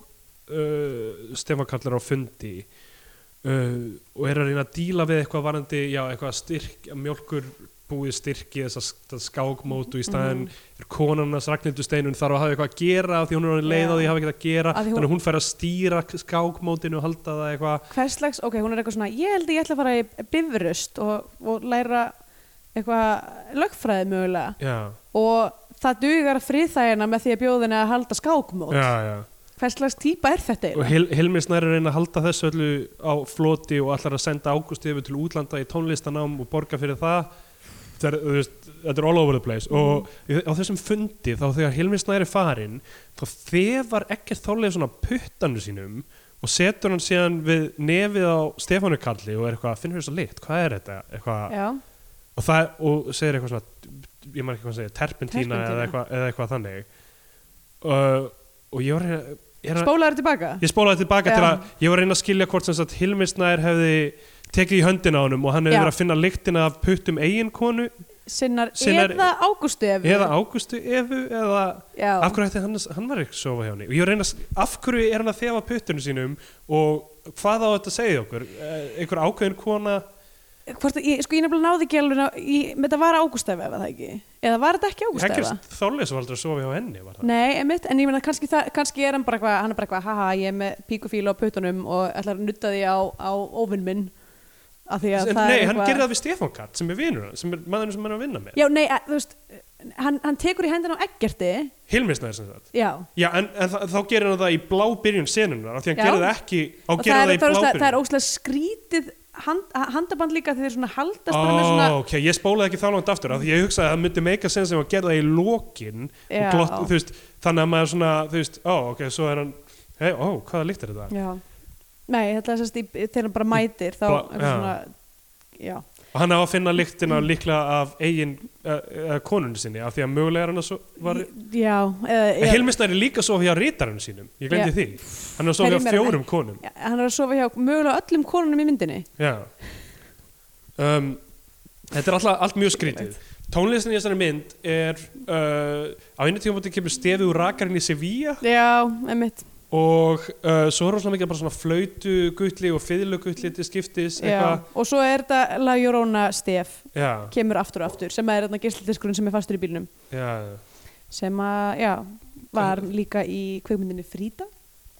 uh, Stefán kallar á fundi uh, og er að reyna að díla við eitthvað varandi, já, eitthvað styrk mjólkur búið styrki þess að skákmótu
Mhm.
í staðin er konarnas Ragnhildur Steinun þarf að hafa eitthvað að gera af því hún er orðin leið á
Já.
því að hafa eitthvað að gera
Af því hún-
þannig að hún fer að stýra skákmótinu og halda það eitthvað
Hvers slags, ok, hún er eitthvað svona, ég held að ég ætla að fara í bifröst og, og læra eitthvað lögfræði mögulega.
já,
Og það dugar að friðþægina með því að bjóðinu að halda skákmót.
já, já
Hvers slags típa er þetta
og
eiginlega?
Hil Hilmi Snær er að reyna að halda þessu öllu á floti og allar að senda Ágústi yfir til útlanda í tónlistanám og borga fyrir það þetta er, þú veist, þetta er all over the place og á þessum fundi þá þegar Hilmi Snær er farinn þá þefar ekkert þálega svona puttanu sínum og setur hann síðan við nefið á Stefánu Kalli og er eitthvað, finnur þess að lit, hvað er þetta? Eitthvað,
Já,
og, það, og segir eitthvað svona, ég maður ekki hvað að segja, terpentína,
Terpentína.
Eða, eitthvað, eða eitthvað þannig uh, og ég var að reyna- ég er að-
spólaður tilbaka?
ég spólaði tilbaka
Já.
til að ég var að reyna að skilja hvort sem sagt Hilmisnær hefði tekið í höndina á honum og hann hefði
Já.
verið að finna lyktina af puttum eiginkonu
Sinnar,
Sinnar-
eða águstu ef
eða Ágústu Evu eða
Mhm. Já.
af hverju ætti hann, hann var ekki að sofa hjá henni og ég var að reyna að, af hverju er hann að þefa puttunum sínum og hvað á þetta að segja okkur Eh, einhver ákveðin kona
Hvort, að- ég, sko ég nefnilega náði ekki alveg ná, ég, þetta var ágústæfa eða það ekki eða var þetta ekki ágústæfa
ekkert þálega sem aldrei að sofa hjá henni var það
Nei, emitt, en ég meina kannski, það, kannski er hann bara eitthvað, hann er bara eitthvað, haha, ég er með píkufílu á puttunum og ætlar að nutta því á, á óvinn minn af því að
En,
það
nei,
er
hann gerði það við Stefán Katt sem er vinur hann, sem er maðurinn sem hann er að vinna með
Já, nei, að, þú veist, hann, hann tekur í hendina á ekkerti
Hilmisnæður sem sagt
Já,
Já, en, en þa- þá gerir hann það í blábyrjun senunar af því hann
Já.
gerir það ekki á
og
gerir
það
það
er,
í
það, er, óslega-
blábyrjun
það er óslega skrítið hand, handaband líka því þeir svona haldast bara með svona
Oh, ok, ég spólaði ekki þá langt aftur af því ég hugsaði að það myndi meika sens sem að gera það í lokin og
Já.
glott, þú veist, þannig að maður svona þú veist, ó, ok, svo er hann hei, ó, hvaða líkt er þetta?
Já, nei, þetta er sérst í- þegar hann bara mætir þá
Bla-
eitthvað
já.
svona, já
og hann á að finna líktina líklega af eigin uh, uh, konunni sinni af því að mögulega er hann að svo var
Já, eða,
En Hilmisnær er líka að sofa hjá rítarinn sínum, ég glemdi því hann er að sofa
Herri,
hjá
mér er-
fjórum konum
Já, hann er að sofa hjá mögulega öllum konunum í myndinni
Já um, Þetta er alltaf allt mjög skrítið Tónlistin í þessari mynd er uh, á einu tíma búin kemur stefið úr rakarinn í Sevilla
já, emmitt
og uh, svo er rosalega mikið bara svona flautu gutli og fiðlu gutli til skiptis eitthvað,
og svo er þetta La Llorona stef
já,
kemur aftur og aftur sem að er þarna geislidiskurinn sem er fastur í bílnum
já,
sem að, já, var líka í kveikmyndinni Frida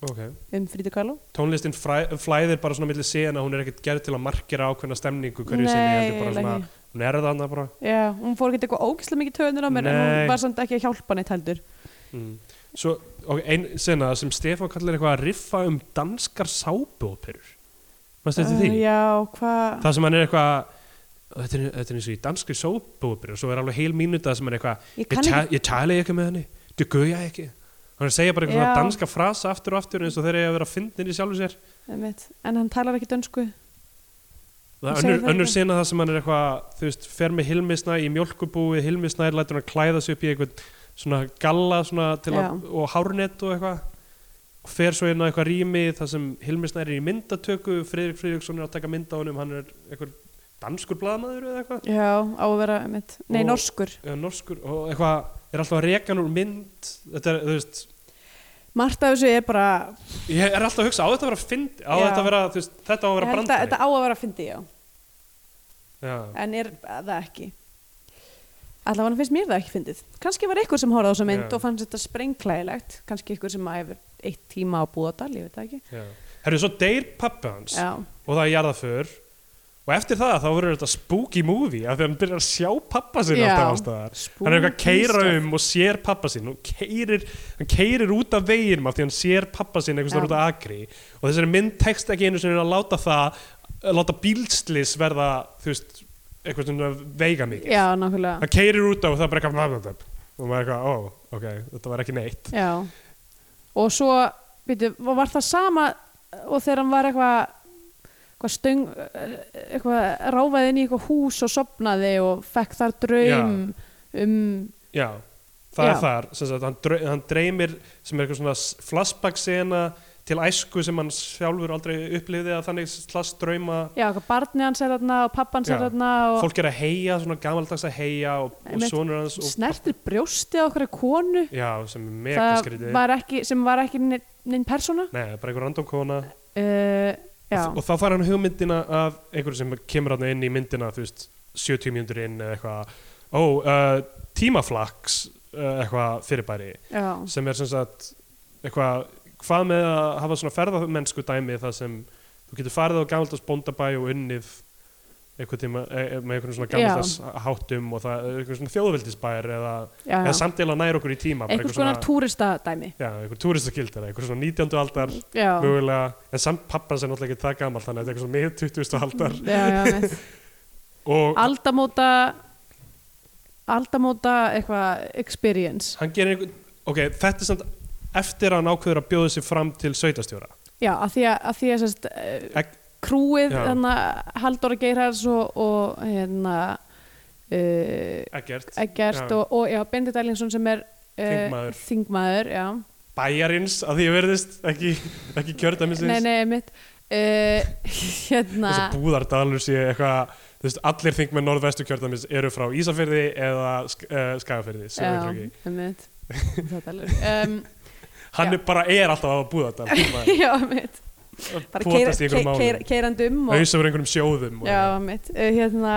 ok
um Frida Kahlo
tónlistin fræ, flæðir bara svona milli sena, hún er ekkert gerð til að markera ákveðna stemningu hverju
Nei,
sinni, heldur bara
eiginlega
svona
ekki.
hún er þarna bara
já, hún fór ekki eitthvað ógislega mikið töðunir á mér en
Nei.
hún var samt ekki að hjálpa neitt heldur
mm. Svo, ok, ein sena sem Stefán kallar eitthvað að riffa um danskar sábuopirur Manstu eftir því?
Uh, já, hvað
það sem hann er eitthvað þetta er, þetta er eins og í danskri sópópir og svo er alveg heil mínúta sem hann er eitthvað
Ég
ég,
kann
ta ég tala ekki með henni, þú guðja ekki hann er að segja bara eitthvað
Já.
svona danska frasa aftur og aftur eins og þeir eru að vera að fyndin í sjálfu sér
einmitt. en hann talar ekki dönsku
það
Hann
er
segir
önnur,
það
önnur
líka.
sena það sem hann er eitthvað þú veist, fer með hilmisnæ í mjólkubúi hilmisnæ lætur hann að klæða sig upp í eitthvað svona galla svona til að,
Já.
og hárnett og eitthvað og fer svo inn á eitthvað rými þar sem hilmisnæ er í myndatöku Friðrik Friðriksson er að taka mynda honum hann er eitthvað danskur blaðmaður eða eitthvað
Já, á að vera, mitt, nei,
Og-
norskur
eða norskur og eitthvað er alltaf að reka hann úr mynd þetta er, þú veist,
Margt af þessu er bara
ég er alltaf að hugsa á þetta að vera fynd á
Já.
þetta að vera, þú veist, þetta á að
ég
vera
held að Þetta
brandari
á að vera að fyndi, já
Já.
En er það ekki Allavega finnst mér það ekki fyndið Kanski var ykkur sem horfði á þessa mynd
Já.
og fannst þetta sprengklæðilegt Kanski ykkur sem hefur eitt tíma á Búðardal, ég veit það ekki
Já. Herru, svo deyr pappi hans
Já,
og það er jarðaför og eftir það þá verður þetta spooky movie af því að hann byrjar að sjá pappa sinn
Já.
alltaf allstaðar hann er eitthvað að
Spooky
keira
stuff.
um og sér pappa sinn og keirir, hann keirir út af veginum af því hann sér pappa sinn einhvers
Já.
þar út af akri og þessari mynd tekst ekki einu sem er að láta það að láta bílslis verða þú veist, eitthvað svona veiga mikið
já nákvæmlega
hann keirir út af og það er bara eitthvað og maður er eitthvað, ó, ok, þetta var ekki neitt
Já Og svo, veitu, var það sama eh, og þegar hann var eitthvað eitthvað stöng eh, eitthvað ráfaði inn í eitthvað hús og sopnaði og fekk þar draum um,
já, það
Já.
er þar sem sagt, hann, draum, hann dreymir sem er eitthvað svona s- flashback sena til æsku sem hann sjálfur aldrei upplifði að þannig slast drauma
já, eitthvað barnið hans er þarna og pappan hans er
Já.
þarna og
fólk er að heia, svona gammaldags að heia og, og
Einmitt.
sonur hans og
snertir brjóstið á okkur konu
Já, sem er mega
það
skrítið
var ekki, sem var ekki neinn nein persóna
Nei, bara einhver random kona
uh, já,
og þá fær hann hugmyndina af einhverju sem kemur hann inn í myndina þú veist, 70 mjöndur inn eða eitthvað ó, uh, tímaflaks uh, eitthvað fyrirbæri
já,
sem er sem sagt eitthvað, hvað með að hafa svona ferðamennsku dæmi þar sem þú getur farið á gammaldags bóndabæ og unnið einhvern tíma, e, e- með einhvern svona gammaldags háttum og það er einhvern svona þjóðvildisbær eða,
já, já.
eða samt eila nær okkur í tíma bara
einhvers konar túristadæmi
Já, einhver túristakildar, einhver svona 19. aldar
já,
mögulega, en samt pappan sem náttúrulega ekki það gammal þannig að þetta er eitthvað svona mið 20. aldar
já, já með-
og
aldamóta aldamóta eitthvað experience
hann gerir einhver, ok, þetta er samt eftir að hann ákveður að bjóða sig fram til sveitastjóra
já, að því að, að, því að sérst, uh,
Ek-
krúið
Já.
hana, Halldóra Geirhars og, og hérna uh,
ekkert,
Eggert
Já.
og, og já, Bendit Ellingsson sem er eh,
Þingmaður.
þingmaður já
bæjarins að því að verðist ekki, ekki kjördæmisins
Nei, nei, mitt uh, Hérna
þess að búðardalur sé eitthvað þú veist, allir þingmenn norðvestu kjördæmis eru frá Ísafirði eða sk uh, Skagafirði sem við trúki.
mitt Þetta er alveg um,
hann
Já.
er bara er alltaf á búðardal maður.
Já, mitt Bara keira,
Potast í
keira,
einhverjum
keira,
málum
keirandum og,
auðvitað verið einhverjum sjóðum og-
Já, mitt uh, Hérna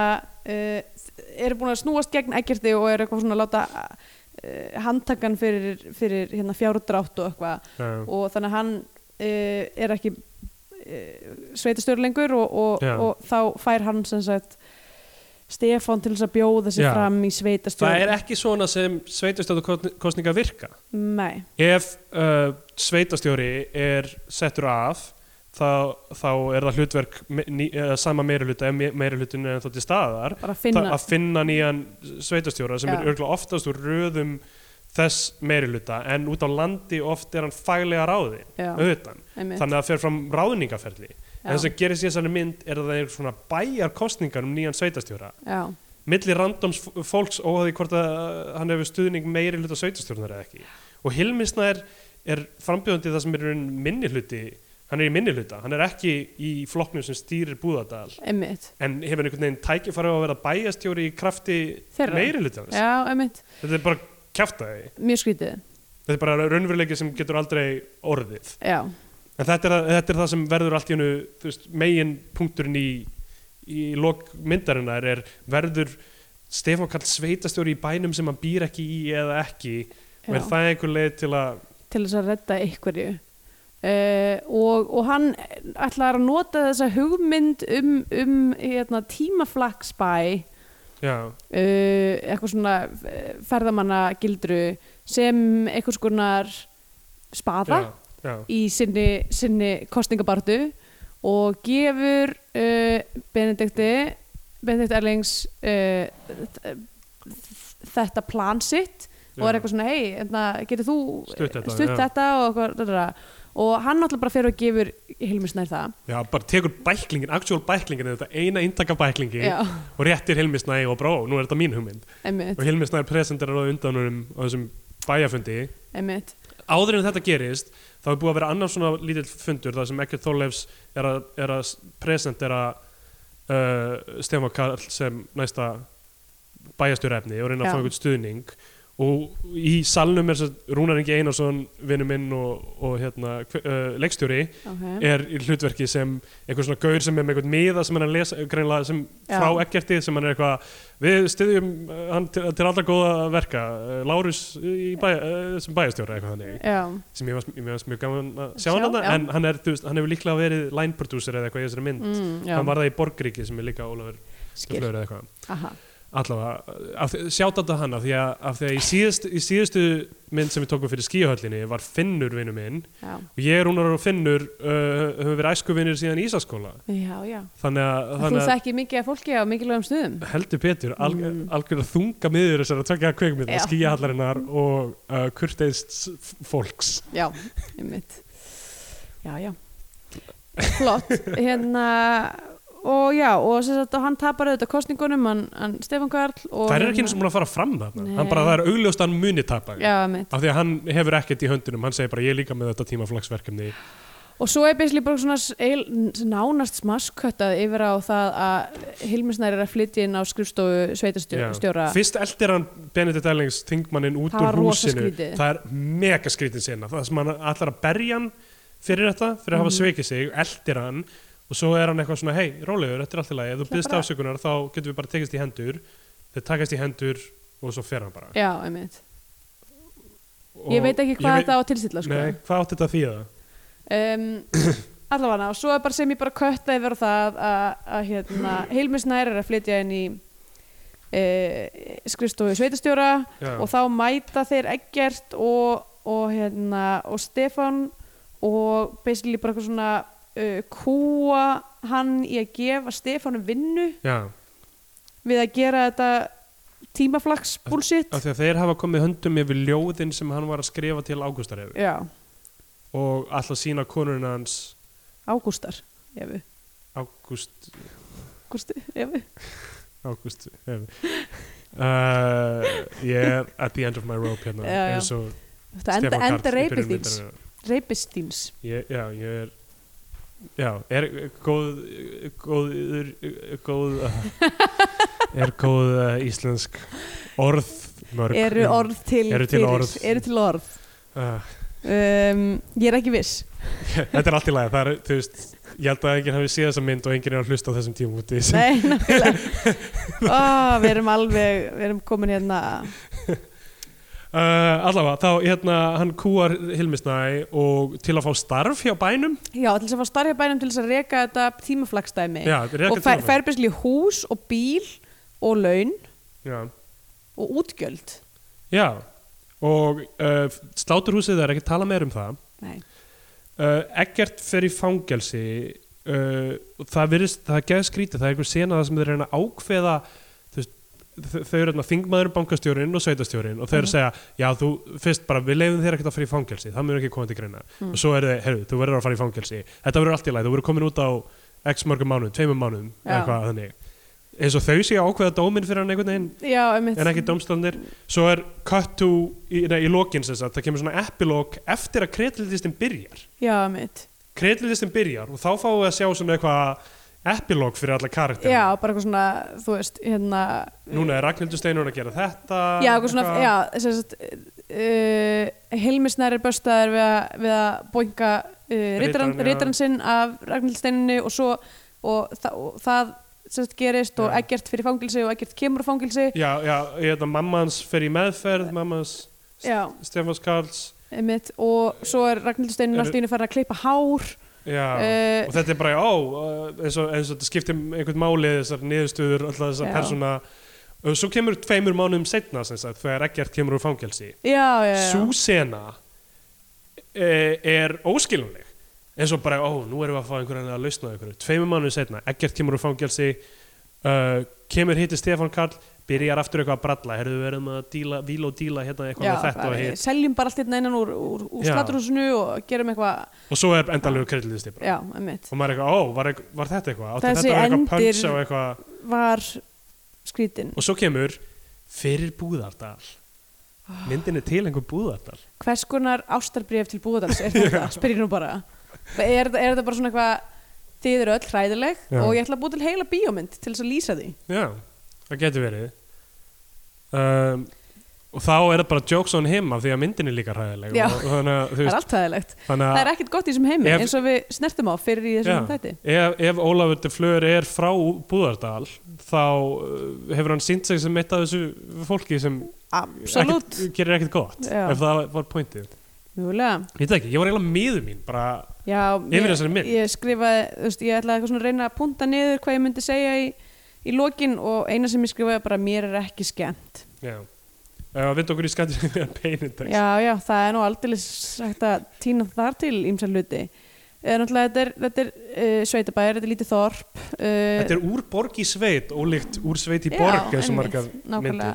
uh, Eru búin að snúast gegn ekkerti og eru eitthvað svona að láta uh, handtakan fyrir, fyrir hérna fjárdrátt og eitthvað
Já.
og þannig að hann uh, er ekki uh, sveitastöru lengur og, og,
Já.
og þá fær hann sem sagt Stefán til þess að bjóða sig
Já.
fram í sveitastöru
Það er ekki svona sem sveitastjóðakostninga virka.
Nei,
Ef uh, sveitastjóri er settur af, þá, þá er það hlutverk me- ný, eða sama meiruluta, ef meirulutin er ennþá til staðar,
bara að
það-
finna
að finna nýjan sveitastjóra sem
Já.
er örgulega oftast úr röðum þess meiriluta, en út á landi oft er hann faglega ráðin,
Já.
auðvitað.
Einmitt.
Þannig að það fer fram ráðningaferli. En
Já.
það sem gerist í þessari mynd er að það er svona bæjarkostningar um nýjan sveitastjóra.
Já,
milli randoms f- fólks óhaði hvort að uh, hann hefur stuðning meiri hluta sveitastjórnar eða ekki og Hilmisnær er frambjóðandi það sem er í raun minni hluti hann er í minni hluta, hann er ekki í flokknum sem stýrir búðadal
einmitt
en hefur einhvern veginn tækifæri á að vera bæjastjóri í krafti
Þeirra.
meiri hluta
Já, einmitt,
þetta er bara kjaftaði
mjög skrítið
þetta er bara raunveruleiki sem getur aldrei orðið
Já,
en þetta er, þetta er það sem verður allt í hennu veist, megin punkturinn í, í lok myndarinnar er verður Stefán Karl sveitastjóri í bænum sem hann býr ekki í eða ekki og
já.
er það einhver leið til að
til þess að redda einhverju uh, og, og hann ætlar að nota þessa hugmynd um, um hérna, tímaflagsbæ uh,
já,
eitthvað svona eh, ferðamannagildru sem eitthvað skonar spaða
já, já,
í sinni, sinni kostningabartu og gefur uh, Benedikti Benedikt Erlings uh, þetta plan sitt og
Já.
er eitthvað svona, hei, getur þú
Stutt þetta,
stutt
já.
þetta og, eitthvað, da, da, da. og hann náttúrulega bara fyrir og gefur Hilmi Snær það
já, bara tekur bæklingin actual bæklingin, þetta eina inntaka bæklingi
Já,
og réttir Hilmi Snæ og bró, nú er þetta mín hugmynd
einmitt,
og Hilmi Snæ presenterar á undanunum á þessum bæjafundi
einmitt
áður en þetta gerist þá er búið að vera annar svona lítill fundur þar sem Ekkert Þorleifs er að, er að presentera uh, Stefán Karl sem næsta bæjastjórefni og reyna að
Já.
fá einhvern stuðning og í salnum er sem sagt Rúnar Ingi Einarsson, vinnu minn og, og hérna, hve- uh, leikstjóri
ok,
er í hlutverki sem einhver svona gaur sem er með einhvern miða sem hann er að lesa greinlega sem
Já.
frá ekkerti sem hann er eitthvað við styðjum uh, hann til, til allra góða verka uh, Lárus í bæ, uh, sem bæjastjóra eitthvað þannig
já,
sem ég varst, ég varst mjög gaman að sjá
Sjá,
hann þarna,
já.
en hann, er, þú veist, hann hefur líklega verið line producer eða eitthvað í þessari mynd
mm, já,
hann var það í Borgríki sem er líka Ólafur sem
skil,
flöður eða eitthvað
aha,
allavega, sjátt þetta hann af því að, af því að í, síðust, í síðustu mynd sem við tókum fyrir skíahöllinni var Finnur vinnu minn
já,
og ég, Rúnar og Finnur uh, höfum verið æskuvinir síðan í Ísaskóla
já, já.
þannig að,
Þú
þannig að
þekki mikið af fólki á mikilvægum stöðum.
heldur Petur, alg,
Mm.
algjörða þunga miður þessar að tvekja kveikmynda,
Já.
skíahallarinnar og uh, kurteist fólks
Já, einmitt. Já, já. Flott. Hérna, og já, og sem sagt, og hann tapar auðvitað kostningunum, hann, hann Stefán Karl og... hérna-
það er ekki eins og múin að fara fram þarna
Nei.
hann bara, það er augljóst að hann muni tapa
Já, einmitt.
af því að hann hefur ekkert í höndunum hann segir bara, ég er líka með þetta tímaflagsverkefni
Og svo er basically bara svona s- eil, nánast smasköttað yfir á það að Hilmisnær er að flytja inn á skrifstofu
Já.
sveitastjóra.
fyrst eldir hann Benedikt Erlings þingmanninn út
Það
úr
var rosa
húsinu
skrítið.
það er mega skrítin sinna það sem hann allar að berja hann fyrir þetta fyrir að
Mhm.
hafa sveikið sig, eldir hann og svo er hann eitthvað svona, hei, rólegur, þetta er allt í lagi ef þú
Það
byrðst
bara-
afsökunar þá getum við bara tekist í hendur þeir takast í hendur og svo fer hann bara
Já, einmitt.
og
ég veit ekki hvað þetta á að tilstilla, sko.
Nei, hvað átti þetta að þýða?
um, allavega og svo er bara sem ég bara kötta yfir á það að, að hérna, Hilmi Snær er að flytja inn í e, skrifstofu sveitastjóra
Já.
og þá mæta þeir ekkert og, og, hérna, og Stefan og basically bara eitthvað svona uh, kúa hann í að gefa Stefanu vinnu
Já,
við að gera þetta tímaflags bullshit
af því að þeir hafa komið höndum yfir ljóðin sem hann var að skrifa til Ágústarefi
já,
og alltaf sína konurinn hans
ágústar efu,
Ágúst
Gústi, efu
Ágúst hef- uh, Ég er at the end of my rope hérna
Já, já.
eins og
þetta enda,
Stefán
enda
Karl í byrjun
reipistýns
myndarinnar.
reipistýns
Ég- Já, ég er Já, er góð góður góð, uh, er góð uh, íslensk orð mörg
eru
um,
orð til,
Eru til
fyrir,
orð.
eru til orð.
uh,
Um, ég er ekki viss
Þetta er allt í lagi, það er, þú veist ég held að enginn hafi séð þessa mynd og enginn er að hlusta á þessum tíma úti sem-
Nei, náttúrulega oh, Við erum alveg, við erum komin hérna
uh, Allavega, þá hérna hann kúar Hilmisnæ og til að fá starf hjá bænum
Já, til þess að fá starfja bænum til þess að reka þetta tímaflagstæmi
Já, þetta er
og
ekki
fær,
tíma.
fær besli hús og bíl og laun
Já.
og útgjöld
Já, og uh, sláturhúsið það er ekki að tala meir um það.
Nei,
Uh, ekkert fer í fangelsi, uh, og það virðist, það er geða skrítið, það er einhver sena það sem þeir reyna að ákveða, þú veist, þau- þau eru þarna þingmaður, bankastjórinn og sveitastjórinn og þau eru að segja, já þú, fyrst bara við leifum þér ekkert að fara í fangelsi, það mjög ekki koma til greina og svo er þau, heyrðu, þú verður að fara í fangelsi þetta verður allt í lagi, þú verður komin út á x mörgum mánuðum, tveimum mánuðum, eða
Já.
hvað þannig eins og þau sé að ákveða dóminn fyrir hann einhvern veginn
já, einmitt
en ekki dómstæðanir svo er cut to í, nei, í lokin sem sagt, það kemur svona epilog eftir að kreditlistin byrjar
Já, einmitt
kreditlistin byrjar og þá fáum við að sjá svona eitthvað epilog fyrir alla karakter
Já, bara eitthvað svona, þú veist, hérna
núna er Ragnhildur Steinur að gera þetta
Já, eitthvað svona, já, sem sagt uh, Hilmisnær er böstaðar við að, við að boinga uh,
Ritarann, já.
rítaran sinn af Ragnhild Steinunni og svo og, þa og það sem sagt gerist og
Já.
ekkert fyrir fangilsi og ekkert kemur úr fangilsi
já, já, hérna, mamma hans fer í meðferð mamma hans
Já,
Stefáns Karls
einmitt og svo er Ragnhild Steinunn
Eru-
allt í einu farin að klippa hár
já,
Eh,
og þetta er bara, ó, uh, eins og, eins og þetta skiptir einhvern máli þessar niðurstöður alltaf þessar
Já.
persóna og svo kemur tveimur mánuðum setna sem sagt, þegar Eggert kemur úr fangelsi
Já, já, já
sú sena e, er óskilunleg eins og bara, ó, nú erum við að fá einhverjan að lausna einhverju, tveimur mánuðu setna, ekkert kemur úr fangelsi uh, kemur hitti Stefán Karl byrjar aftur eitthvað að bralla herðu verðum að díla, víla og díla hérna eitthvað
Já,
með þetta og
bara,
hitt,
seljum bara allt hérna innan úr, úr, úr
Já.
slatturhúsinu og gerum eitthvað,
og svo er endalegu kredilist og
já, einmitt
maður er eitthvað, ó, var, eitth- var þetta eitthvað átti
Þessi
þetta var eitthvað
endir-
punch á eitthvað
var skrítin
og svo kemur fyrir búðardal myndin er til einhver búðardal
hvers konar ástarbréf til búðardals er þetta, spyrir nú bara er, er þetta bara svona eitthvað þið eru öll hræðileg
Já.
og ég ætla að búa til heila bíómynd til þess að lýsa því
Já, það getur verið um, og þá er það bara jokes on him af því að myndin er líka hræðileg
Já.
og, og þannig að, þú
það er
veist,
allt hræðilegt
þannig
það
að
er ekkert gott í þessum heimi
Ef-
eins og við snertum á fyrir í þessum
Já.
þætti
ef, ef Ólafur de Fleur er frá Búðardal þá uh, hefur hann sínt sig sem eitt af þessu fólki sem
absolutt,
ekkert- gerir ekkert gott
Já.
ef það var pointið
mjögulega
ég veit það ekki, ég var eiginlega miður mín bara,
Já,
Yfir þessari mynd.
ég, ég skrifaði, þú veist, ég ætlaði eitthvað svona að reyna að punta niður hvað ég myndi segja í, í lokin og eina sem ég skrifaði bara mér er ekki skemmt.
já að uh, vinda okkur í skandi með peinindex
Já, já, það er nú aldrei sagt að týna þar til ímsa hluti. Eh, Náttúrulega þetta er, þetta er uh, sveitabæður, þetta er lítið þorp. Uh,
þetta er úr borg í sveit ólíkt úr sveit í
Já,
borg eins og
einmitt,
margar
nákvæmlega.
myndir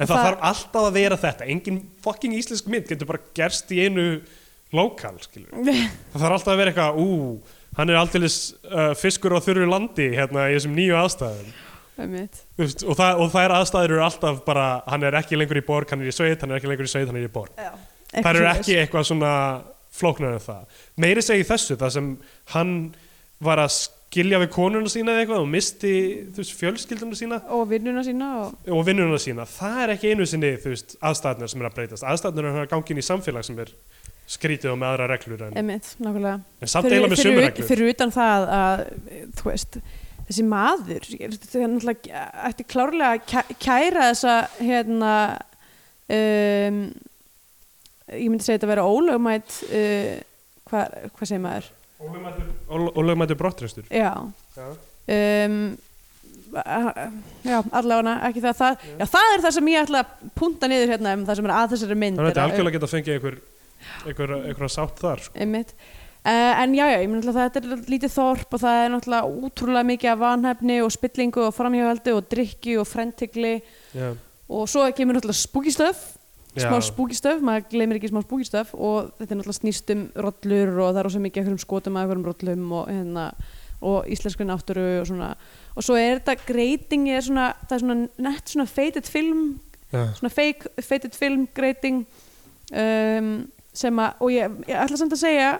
en það,
Það-
þarf alltaf að vera þetta engin fucking íslensk mynd getur bara gerst í einu lokal skilur það þarf alltaf að vera eitthvað ú, hann er aldeilis uh, fiskur á þurru landi hérna í þessum nýju aðstæðum
einmitt.
Þú veist, og, það, og þær aðstæður eru alltaf bara hann er ekki lengur í borg, hann er í sveit hann er ekki lengur í sveit, hann er í borg
Já,
það eru
svoleiðis.
ekki eitthvað svona flóknar en það meiri segi þessu, það sem hann var að skilja við konuna sína eða eitthvað og misti þú veist, fjölskylduna sína
Og vinnuna sína og...
og vinnuna sína það er ekki einu sinni þú veist, aðstæðnir sem er að breytast aðstæðnir er að gangi inn í samfélag sem er skrítið og með aðra reglur en,
Einmitt, nákvæmlega.
en samt eiginlega með sömu
ut-
reglur
fyrir utan það að, þú veist, þessi maður, ég- það er náttúrulega, ætti klárlega að kæ- kæra þessa, hérna, um, ég myndi segja þetta að vera ólögmætt, uh, hvað hva segir maður?
og lögmættu brottrestur
Já, um, a- já, allavega, ekki það, það, já, það er það sem ég ætla að punta niður hérna um það sem er að þessari mynd.
þannig að þetta
er
er
að-
algjörlega geta að fengið einhver, einhver, einhver sátt þar sko.
einmitt Uh, en já, já, ég myndi að þetta er lítið þorp og það er náttúrulega útrúlega mikið af vanhefni og spillingu og framhjáhaldi og drikki og frentigli
já.
og svo kemur náttúrulega spúkistöf, smá
Já.
spúkistöf, maður gleymir ekki smá spúkistöf og þetta er náttúrulega snýst um rollur og það er ósveg mikið af einhverjum skotum að einhverjum rollum og, hérna, og íslenskri náttúru og svona og svo er þetta greitingi, er svona, það er svona nett svona feitet film
Já.
svona fake, feited film greiting um, sem að og ég, ég ætla samt að segja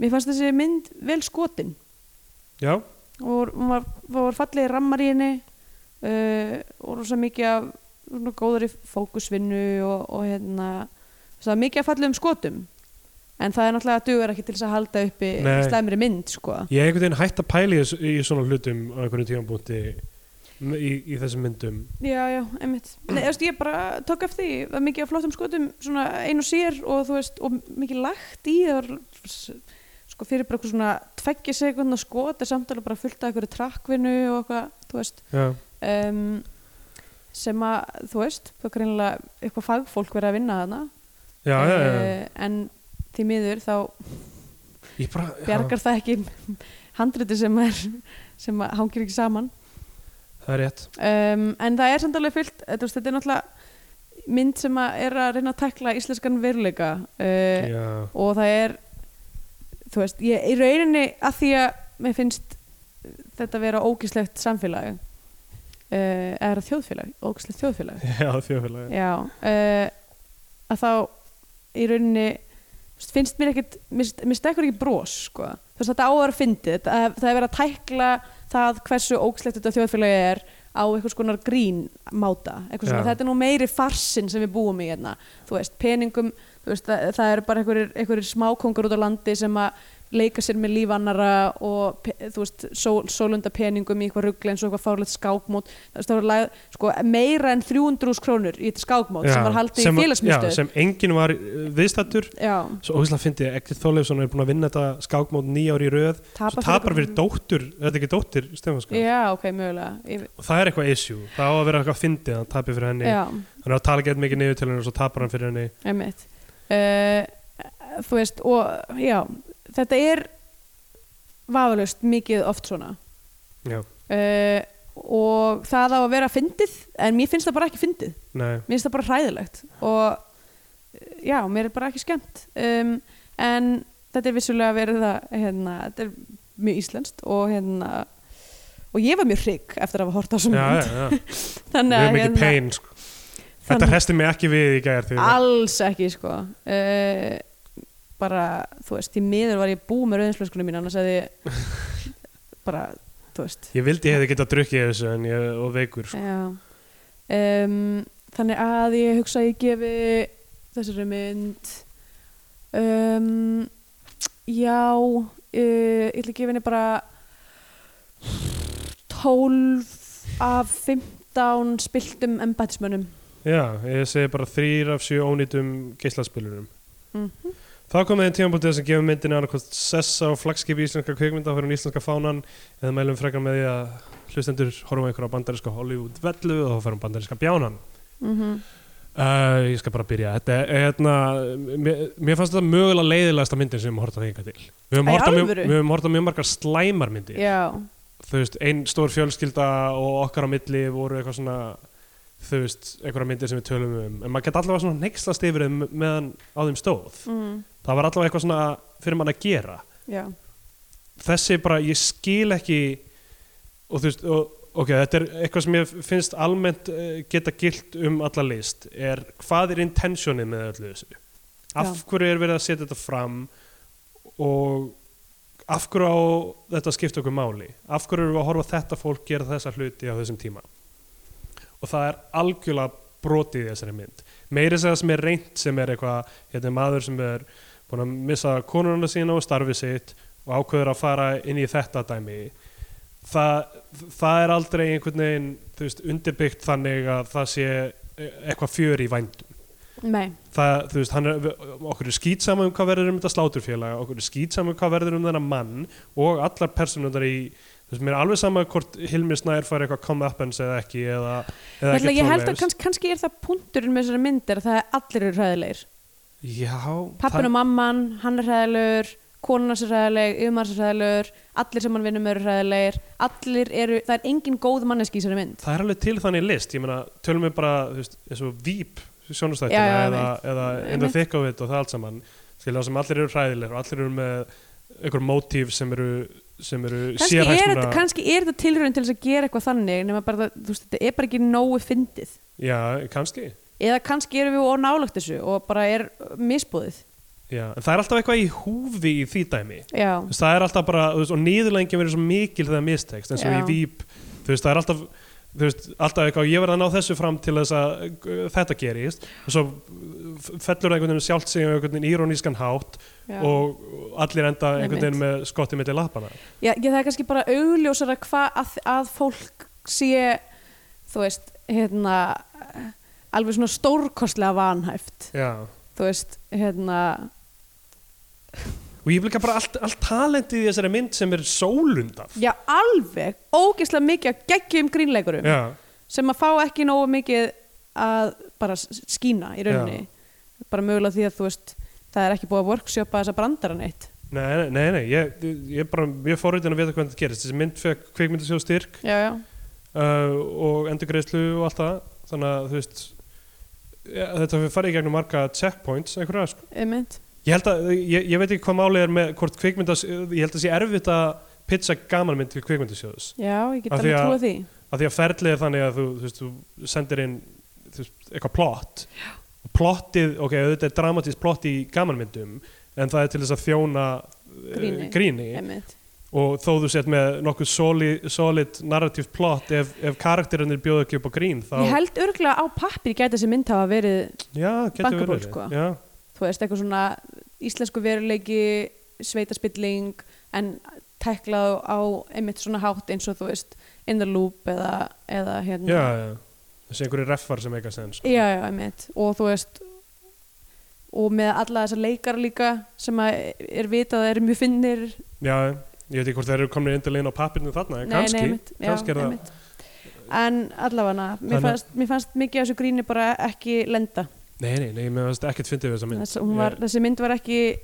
mér fannst þessi mynd vel skotin
já,
og hún var, var fallið rammar í henni uh, og rosa mikið af svona góðari fókusvinnu og, og hérna það er mikið að fallið um skotum en það er náttúrulega að dugur ekki til þess að halda uppi
Nei.
slæmri mynd sko
ég hef einhvern veginn hætt að pæli í svona hlutum á einhvern tímanbúti í, í þessum myndum
já já, einmitt Nei, þú veist, ég bara tók eftir því, það er mikið af flottum skotum svona einu sér og þú veist og mikið lagt í það var s- sko fyrir bara eitthvað svona tveggja sekundna skot er samtala bara fullt af einhverju trakkvinu og eitthvað, þú veist
já,
um, sem að þú veist, það er greinilega eitthvað fagfólk verið að vinna þarna
já, já, já.
Eh, en því miður þá
ég bara, já,
bjargar það ekki handriti sem er sem að hangir ekki saman
það er rétt
um, en það er samt alveg fullt eh, þú veist, þetta er náttúrulega mynd sem að er að reyna að tekla íslenskan veruleika uh,
já,
og það er þú veist, ég í rauninni að því að mér finnst þetta vera ógislegt samfélag uh, eða þjóðfélag, ógislegt þjóðfélag
já þjóðfélagi
já uh, að þá í rauninni þú veist, finnst mér ekkit mér st- mér stekkur ekki bros sko. þú veist þetta áður að fyndi það, það er verið að tækla það hversu ógslegt þetta þjóðfélagi er á einhvers konar grín máta einhvers svona,
Já.
þetta er nú meiri farsin sem við búum í hérna þú veist, peningum þú veist, það, það eru bara einhverjir, einhverjir smákongur út á landi sem að leika sér með líf annara og pe- þú veist, sól, sólunda peningum í eitthvað ruggli eins og eitthvað fárlegt skákmót þú veist, það voru lagð, sko, meira en 300 krónur í þetta skákmót sem var haldið í
já,
félagsmyndstöð
sem enginn var uh, viðstættur
já,
svo ógæslega fyndi ég, Egil Þorleifsson er búin að vinna þetta skákmót nýja ári í röð
tapa
svo tapar fyrir dóttur, þetta er ekki dóttur Stefanskar,
já, ok, mögulega Ég,
og það er eitthvað issue það á að vera eitthvað fyndið, að hann tapir fyrir henni
já,
hann er að tala gett mikið niður til henni og svo tapar hann fyrir henni
einmitt uh, þú veist, og já þetta er vafalust mikið oft svona
já,
uh, og það á að vera fyndið en mér finnst það bara ekki fyndið
nei,
mér finnst það bara hræðilegt og eh, já, mér er bara ekki skemmt um, en þetta er vissulega verið það hérna, þetta er mjög íslenskt og hérna og ég var mjög hrygg eftir að hafa hort á
já,
sem
já,
mynd
já.
þannig
mjög
að
mikið
hérna,
pain sko. þetta
þannig-
hrestir mig ekki við í gæðar því
alls ekki sko uh, bara, þú veist, í miður var ég bú með rauðinslöskunum mín annars hefði ég bara, þú veist
Ég vildi ég hefði getað drukkið þessu en ég og veikur sko.
Já. Um, þannig að ég hugsa að ég gefi þessari mynd um, já uh, ég ætla að gefa henni bara 12 af 15 spiltum embætismönnum
Já, ég segi bara þrýr af sjö ónýtum geislaspilunum
Mhm.
Þá kom það einn tímabútið sem gefur myndinu annarkost sessa og flagskipi íslenska kveikmynda fyrir íslenska fánan eða mælum frekar með því að hlustendur horfum einhverja bandarinska Hollywood vellu og þá ferum bandarinska bjánan
mm -hmm.
Uh, ég skal bara byrja þetta, er- hérna, mér, mér fannst þetta mögulega leiðilegasta myndin sem við horta þingar til við höfum
Æ, í
horta mjög,
alvöru?
við höfum horta mjög margar slæmar myndir
já,
þú veist, ein stór fjölskylda og okkar á milli voru eitthvað svona þú veist, einhverja myndir sem við tölum um en maður gett allavega svona neykslast yfir þeim meðan á þeim stóð
mm,
það var allavega eitthvað svona fyrir mann að gera
já
þessi bara, ég skil ekki og þú veist, og, ok, þetta er eitthvað sem ég finnst almennt eh, geta gilt um alla list er hvað er intentionið með öllu þessu af
Já.
hverju er verið að setja þetta fram og af hverju á þetta að skipta okkur máli af hverju erum við að horfa á þetta fólk gera þessa hluti á þessum tíma og það er algjörlega brotið í þessari mynd meiri segja sem er reynt sem er eitthvað hérna er maður sem er búin að missa konuna sína og starfið sitt og ákveður að fara inn í þetta dæmi það, það er aldrei einhvern veginn þú veist, undirbyggt þannig að það sé e-, eitthvað fjör í vændum
nei,
það, þú veist, hann er, okkur er skýtsama um hvað verður um þetta sláturfélag okkur er skýtsama um hvað verður um þennan mann og allar personundar í þú veist, mér er alveg sama hvort Hilmi Snær fær eitthvað come up and segja ekki eða, eða
Ætla,
ekkert
ég held að
svoleiðis.
kannski, kannski er það punkturinn með þessari myndir að það er allir eru hræðilegir
Já,
pappin
það-
og mamman, hann er hræðilegur konan er hræðileg, yfirmann er hræðilegur allir sem hann vinnur með eru hræðilegir allir eru, það er engin góð manneski í þessari mynd
það er alveg til þannig list ég meina, tölum við bara, þú veist, eins og víp sjónustættina
Já, já,
eða, eða in the
Einmitt.
thick of it og það allt saman skilja sem allir eru hræðilegir og allir eru með einhver mótíf sem eru sem eru
kannski er, þetta, kannski er þetta tilraun til þess að gera eitthvað þannig nema bara, það- þú veist, þetta er bara ekki nógu fyndið
já, kannski
eða kannski erum við ónálægt þessu og bara er misbúðið
já. en það er alltaf eitthvað í húfi í því dæmi
já,
Þú veist, það er alltaf bara, þú veist, og nýðurlengin verður svo mikil þegar mistekst, eins og
Já.
í víp þú veist, það er alltaf þú veist, alltaf eitthvað, ég verð að ná þessu fram til þess að uh, þetta gerist og svo uh, f- fellur það einhvern veginn sjálft sig á einhvern veginn írónískan hátt
já.
og allir enda einhvern veginn með skottið mitt í lappana
Já, ég, það er kannski bara augljósara hvað að, að fólk sé þú veist, hérna alveg svona stórkostlega vanhæft
Já.
þú veist, hérna
og ég vil ekki bara allt, allt talentið í þessari mynd sem er sólundaf
já, alveg ógeðslega mikið að geggjum grínleikurum
Já.
sem að fá ekki nógu mikið að bara s- skína í rauninni bara mögulega því að þú veist það er ekki búið að workshopa þessa brandara neitt
Nei, nei, nei, nei, ég, ég er bara mjög forritin að vita hvernig þetta gerist þessi mynd fekk kveikmyndasjóð styrk
já, já,
uh, og endurgreiðslu og allt það þannig að þú veist ja, þetta fyrir farið í gegnum marga checkpoints einhverja sko.
einmitt
ég held að, ég, ég veit ekki hvað málið er með hvort kvikmyndas, ég held að sé erfitt að pitcha gamanmynd til kvikmyndasjóðus
já, ég get
Af því
alveg
að-
trúið því
af því að ferlið er þannig að þú, þú, veist, þú sendir inn þú veist, eitthvað plott og plottið, ok, auðvitað er dramatískt plott í gamanmyndum en það er til þess að þjóna eh,
Gríni.
gríni
einmitt,
og þó þú sett með nokkuð solid, solid narrative plott ef, ef karakterinir bjóðu ekki upp á grín þá,
ég held örgulega á pappir gæti þessi mynd hafa verið
já, getur
Bankabók,
verið
sko.
já,
þú veist, eitthvað svona íslensku veruleiki, sveitaspilling en teklað á einmitt svona hátt eins og þú veist in the loop eða, eða hérna
já, já þessi einhverju reffar sem eitthvað sen sko.
Já, já, einmitt og þú veist og með alla þessar leikar líka sem að er vitað að eru mjög finnir
já, ég veit ekki hvort þeir eru komin inn á pappirnum þarna, en kannski
já,
kannski er það-
einmitt. en allavega mér,
Þannig-
fannst- mér fannst mikið af þessu gríni bara ekki lenda
nei, nei, nei, mér finnst ekkert fyndið við þessa mynd
Þess, hún var,
Ég-
þessi mynd var ekki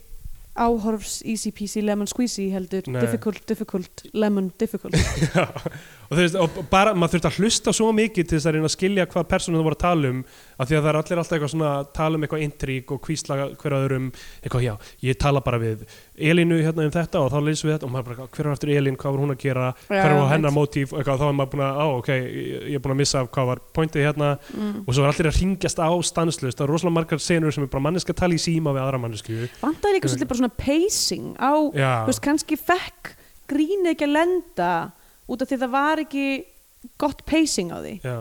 áhorfs easy peasy lemon squeezy heldur
Nei.
difficult, difficult, lemon difficult
Já, og þú veist, og bara, maður þurft að hlusta svo mikið til þess að reyna að skilja hvað persónum það voru að tala um, af því að það er allir alltaf eitthvað svona að tala um eitthvað intrík og kvísla hver að öðrum, eitthvað já, ég tala bara við Elínu hérna um þetta og þá leysum við þetta og maður bara, hver var eftir Elín, hvað var hún að gera hver var hennar mótíf, eitthvað, þá er maður búin að á, ok, ég ég er búin að missa af hvað var pointið hérna
mm.
og svo er allir að ringjast á stanslust, það er rosalega margar senur sem er bara manneska tala í síma við aðra mannesku
vantaði líka svolítið bara svona pacing á
Já,
þú veist, kannski fekk grínið ekki að lenda út af því það var ekki gott pacing á því
Já,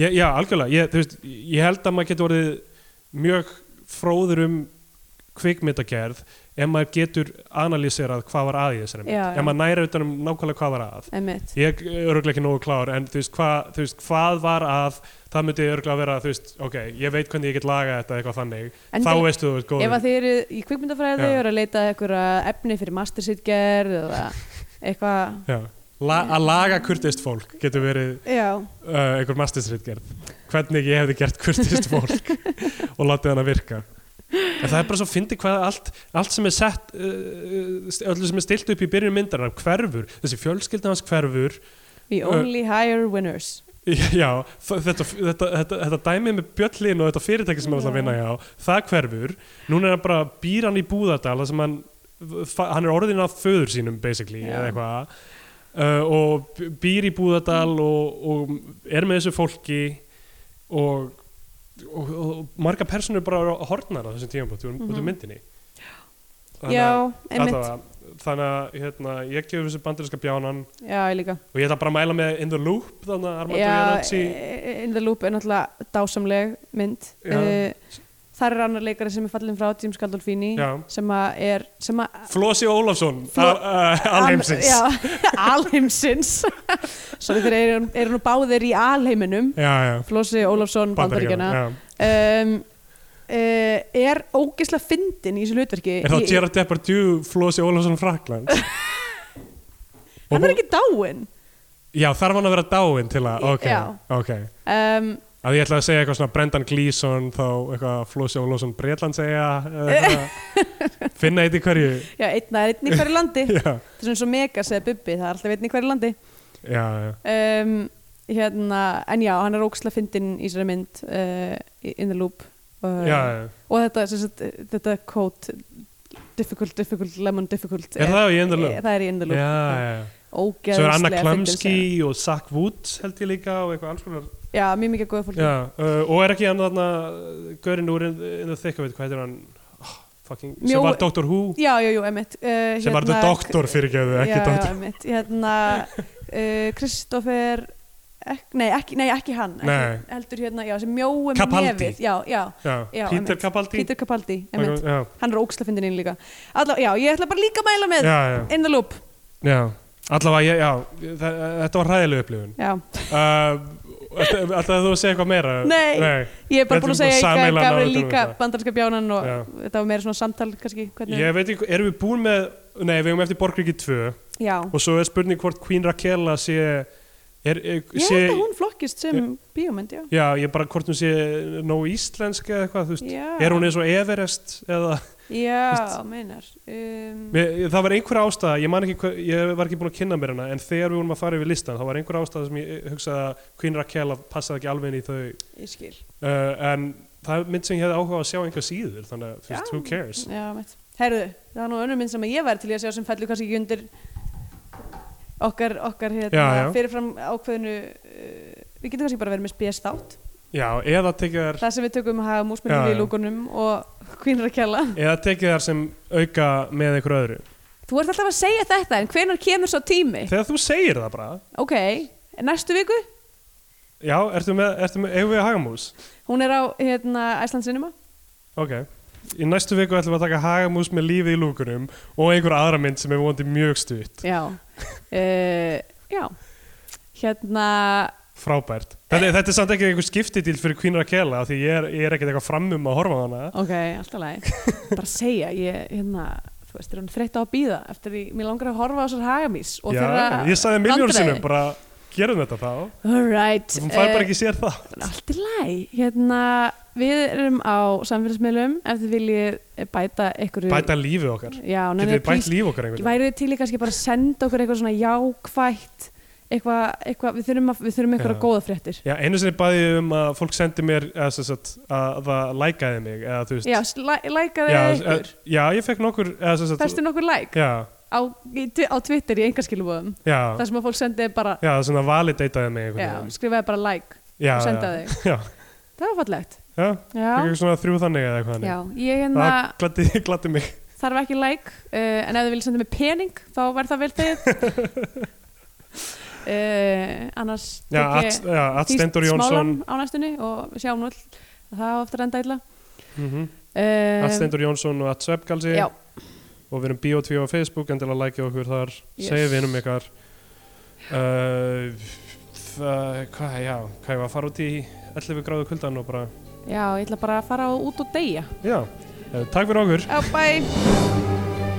já, já algjörlega ég, þú veist, ég held að maður getur orðið mjög fróður um kvikmyndagerð ef maður getur analýserað hvað var að í þessari mynd
Já, já.
ef maður næra utan um nákvæmlega hvað var að
einmitt,
ég er örgulega ekki nógu klár en þú veist, hva, þú veist hvað var að það myndi örgulega vera þú veist, ok, ég veit hvernig ég get lagað þetta eitthvað þannig
En
þá
þið-
veistu þú veist
ef
góður
að þið eru í kvikmyndafræði
Já.
og eru að leita að einhverja efni fyrir mastersitgerð eða eitthvað
Já. La, að laga kurtist fólk getur verið
já,
uh, einhver mastersritgerð hvernig ég hefði gert kurtist fólk og látið hann að virka en það er bara svo fyndi hvað allt, allt sem er sett uh, öllu sem er stilt upp í byrjun myndarnar hverfur, þessi fjölskylda hans hverfur
we only hire winners
já, þ- þetta, þetta, þetta, þetta dæmið með bjöllin og þetta fyrirtæki sem hann ætla að vinna hjá, það hverfur núna er hann bara býr hann í búðardal þar sem hann, fa- hann er orðin af föður sínum basically,
Já.
eða eitthvað uh, og býr í búðardal
Mm.
og, og er með þessu fólki og og, og, og marga personur bara hornar á þessum tíma út úr myndinni Þannig að-
Mhm. já, einmitt,
allavega, þannig að hérna, ég gefur þessu bandarinska bjánan
já, ég líka
og ég ætla bara að mæla með In the Loop þannig að Armando
Já,
Iannacci
eh, In the Loop er náttúrulega dásamleg mynd
Já.
uh, Þar er annar leikari sem er fallin frá James Gandolfini
Já.
sem að er sem að
Flósi Ólafsson
Flo-
Flo alheimsins
Já, Alheimsins Sorry þeir eru, eru nú báðir í alheiminum
já, já,
Flósi Ólafsson Bandaríkjana
Bandaríkjanna, já.
um, uh, Er ógeðslega fyndin í þessu hlutverki
er þá
Ég-
Gerard Depardieu Flósi Ólafsson Frakland
Hann er ekki dáinn
já, þarf hann að vera dáinn til að ok,
Já.
ok
um,
að ég ætla að segja eitthvað svona Brendan Gleeson þá eitthvað Flósi Ólafsson Bretland segja eða eitthvað. finna eitt í hverju
Já, einn að einn í hverju landi
já,
Það er svona svo megas eða bubbi, það er alltaf einn í hverju landi
já, já,
um, hérna, en já, hann er óksla fyndinn í sér mynd uh, in the loop uh,
já, já.
og þetta, sem sagt, þetta quote difficult, difficult, lemon difficult eh,
Er það í In the Loop?
það er í in the
já,
loop
já, já.
ógeðslega
svo er Anna
fyndin
Klömski
sena.
og Zach Wood held ég líka og eitthvað alls konar
já, mjög mikið góða fólki
Já, uh, og er ekki hann þarna uh, Görinn úr in, in the thick of it, hvað heitir hann oh, fucking,
Mjó-
sem var Doctor Who
já, jú, jú, emitt uh, hérna,
sem var The Doctor fyrirgeðu, ekki
já,
Doctor
emitt, hérna uh, Kristoffer ek, nei, ekki, nei, ekki hann
Nei.
ekki, heldur hérna, já, sem mjóum
Capaldi.
nefið já, já,
já,
já,
Peter
einmitt.
Capaldi
Peter Capaldi, emitt
Capaldi já,
hann er óksla fyndin inn líka Alla, já, ég ætla bara líka að mæla með
já, já,
In the Loop
já allavega, ég- já, þa- þetta var hræðileg upplifun
já.
uh, Alltaf þú að segja eitthvað meira
Nei. ég er bara
Þetta er
búin að
bara
segja að
sameiginlega
Gabri
náttúrulega
líka
þetta.
bandarinska bjánan og
Já.
þetta var meira svona samtal kannski hvernig,
ég veit ekki, erum við búin með nei, við erum eftir Borgriki 2
já,
og svo er spurning hvort Queen Raquela sé er, er,
ég
sé,
held að hún flokkist sem bíómynd, já
já, ég bara hvort hún sé nóg íslensk eða eitthvað, þú veist
Já,
er hún eins og Everest eða
já meinar um,
Mér, það var einhver ástæða, ég man ekki hver, ég var ekki búin að kynna mér hana, en þegar við vorum að fara yfir listan þá var einhver ástæða sem ég hugsaði að Queen Raquel passaði ekki alveg inn í þau uh,
ég skil
en það er mynd sem ég hefði áhuga á að sjá einhver síður, þannig að þú veist, who cares
já, meitt. herðu, það er nú önnur mynd sem ég væri til í að sjá sem fellur kannski ekki undir okkar, okkar hérna,
Já, já.
fyrirfram ákveðinu uh, við getum kannski bara verið með spjast átt
Já, eða tekið þær
það sem við tökum hafa
Já,
músmennum í
já.
lúkunum og kvinnar að kjalla
eða tekið þær sem auka með einhver öðru
Þú ert alltaf að segja þetta en hvenar kemur svo tími?
þegar þú segir það bara
Ok, næstu viku
já, ertu með, ertu með, eigum við að hagamús
Hún er á hérna, Æsland Cinema
ok, í næstu viku ætlum við að taka hagamús með lífið í lúkunum og einhver aðra mynd sem er vonandi mjög stutt
Já uh, Já Hérna
frábært þetta, þetta er samt ekki einhver skiptidíl fyrir Queen Raquela af því ég er, ég er ekkert eitthvað framum að horfa á hana
Ok, alltaf læg Bara segja, ég hérna Þú veist, er hún þreytt á að býða eftir því Mér langar að horfa á þessar hagamís og þeirra
ég sagði miljón
vandræði.
sinnum bara gerum þetta þá
All right
hún fær bara
eh,
ekki sér það
Allt í læg Hérna, við erum á samfélagsmiðlum ef þið viljið eh, bæta ykkur
bæta lífið okkar
Já,
getur
nefnir
við bætt lífið okkar einhvern
værið þið til í kannski bara að senda okkur eitthvað svona jákvætt eitthvað, eitthvað við þurfum, að, við þurfum eitthvað
Já.
góða fréttir
já, einu sinni bæði ég um að fólk sendi mér eða, sem sagt, að það lækaði mig eða þú veist
já, slæ- lækaðu
já,
ykkur
eh, já, ég fekk nokkur eða, sem sagt,
festu nokkur læk
já,
á, í, tvi- á Twitter í einhverskilubóðum
já,
þar sem að fólk sendiði bara
já, svona validataði mig einhvern
já,
veginn.
skrifaði bara læk
já,
og sendaði þig.
já,
það var fallegt
já, já,
já,
ekki svona þrjú þannig eða eitthvað
já,
þannig
ég hérna
það glatti, glatti mig
þarf ekki like uh, en ef þið viljið senda mig pening þá væri það vel þegið uh, annars
Já,
tek ég
at, já, at
Gísl
Stendur Jónsson
Smálan á næstunni og við sjáum nú all það á eftir að enda illa
mm At
um,
Stendur Jónsson og at Sveppgalsi
já,
og við erum Bio2 á Facebook en til að lækja okkur þar
Yes.
segja vinum ykkar uh, það, eh, hvað, já hvað ég var að fara út í 11 gráðu kuldan og bara,
já, ég ætla bara að fara á- út og deyja
já, uh, takk fyrir okkur
já, bye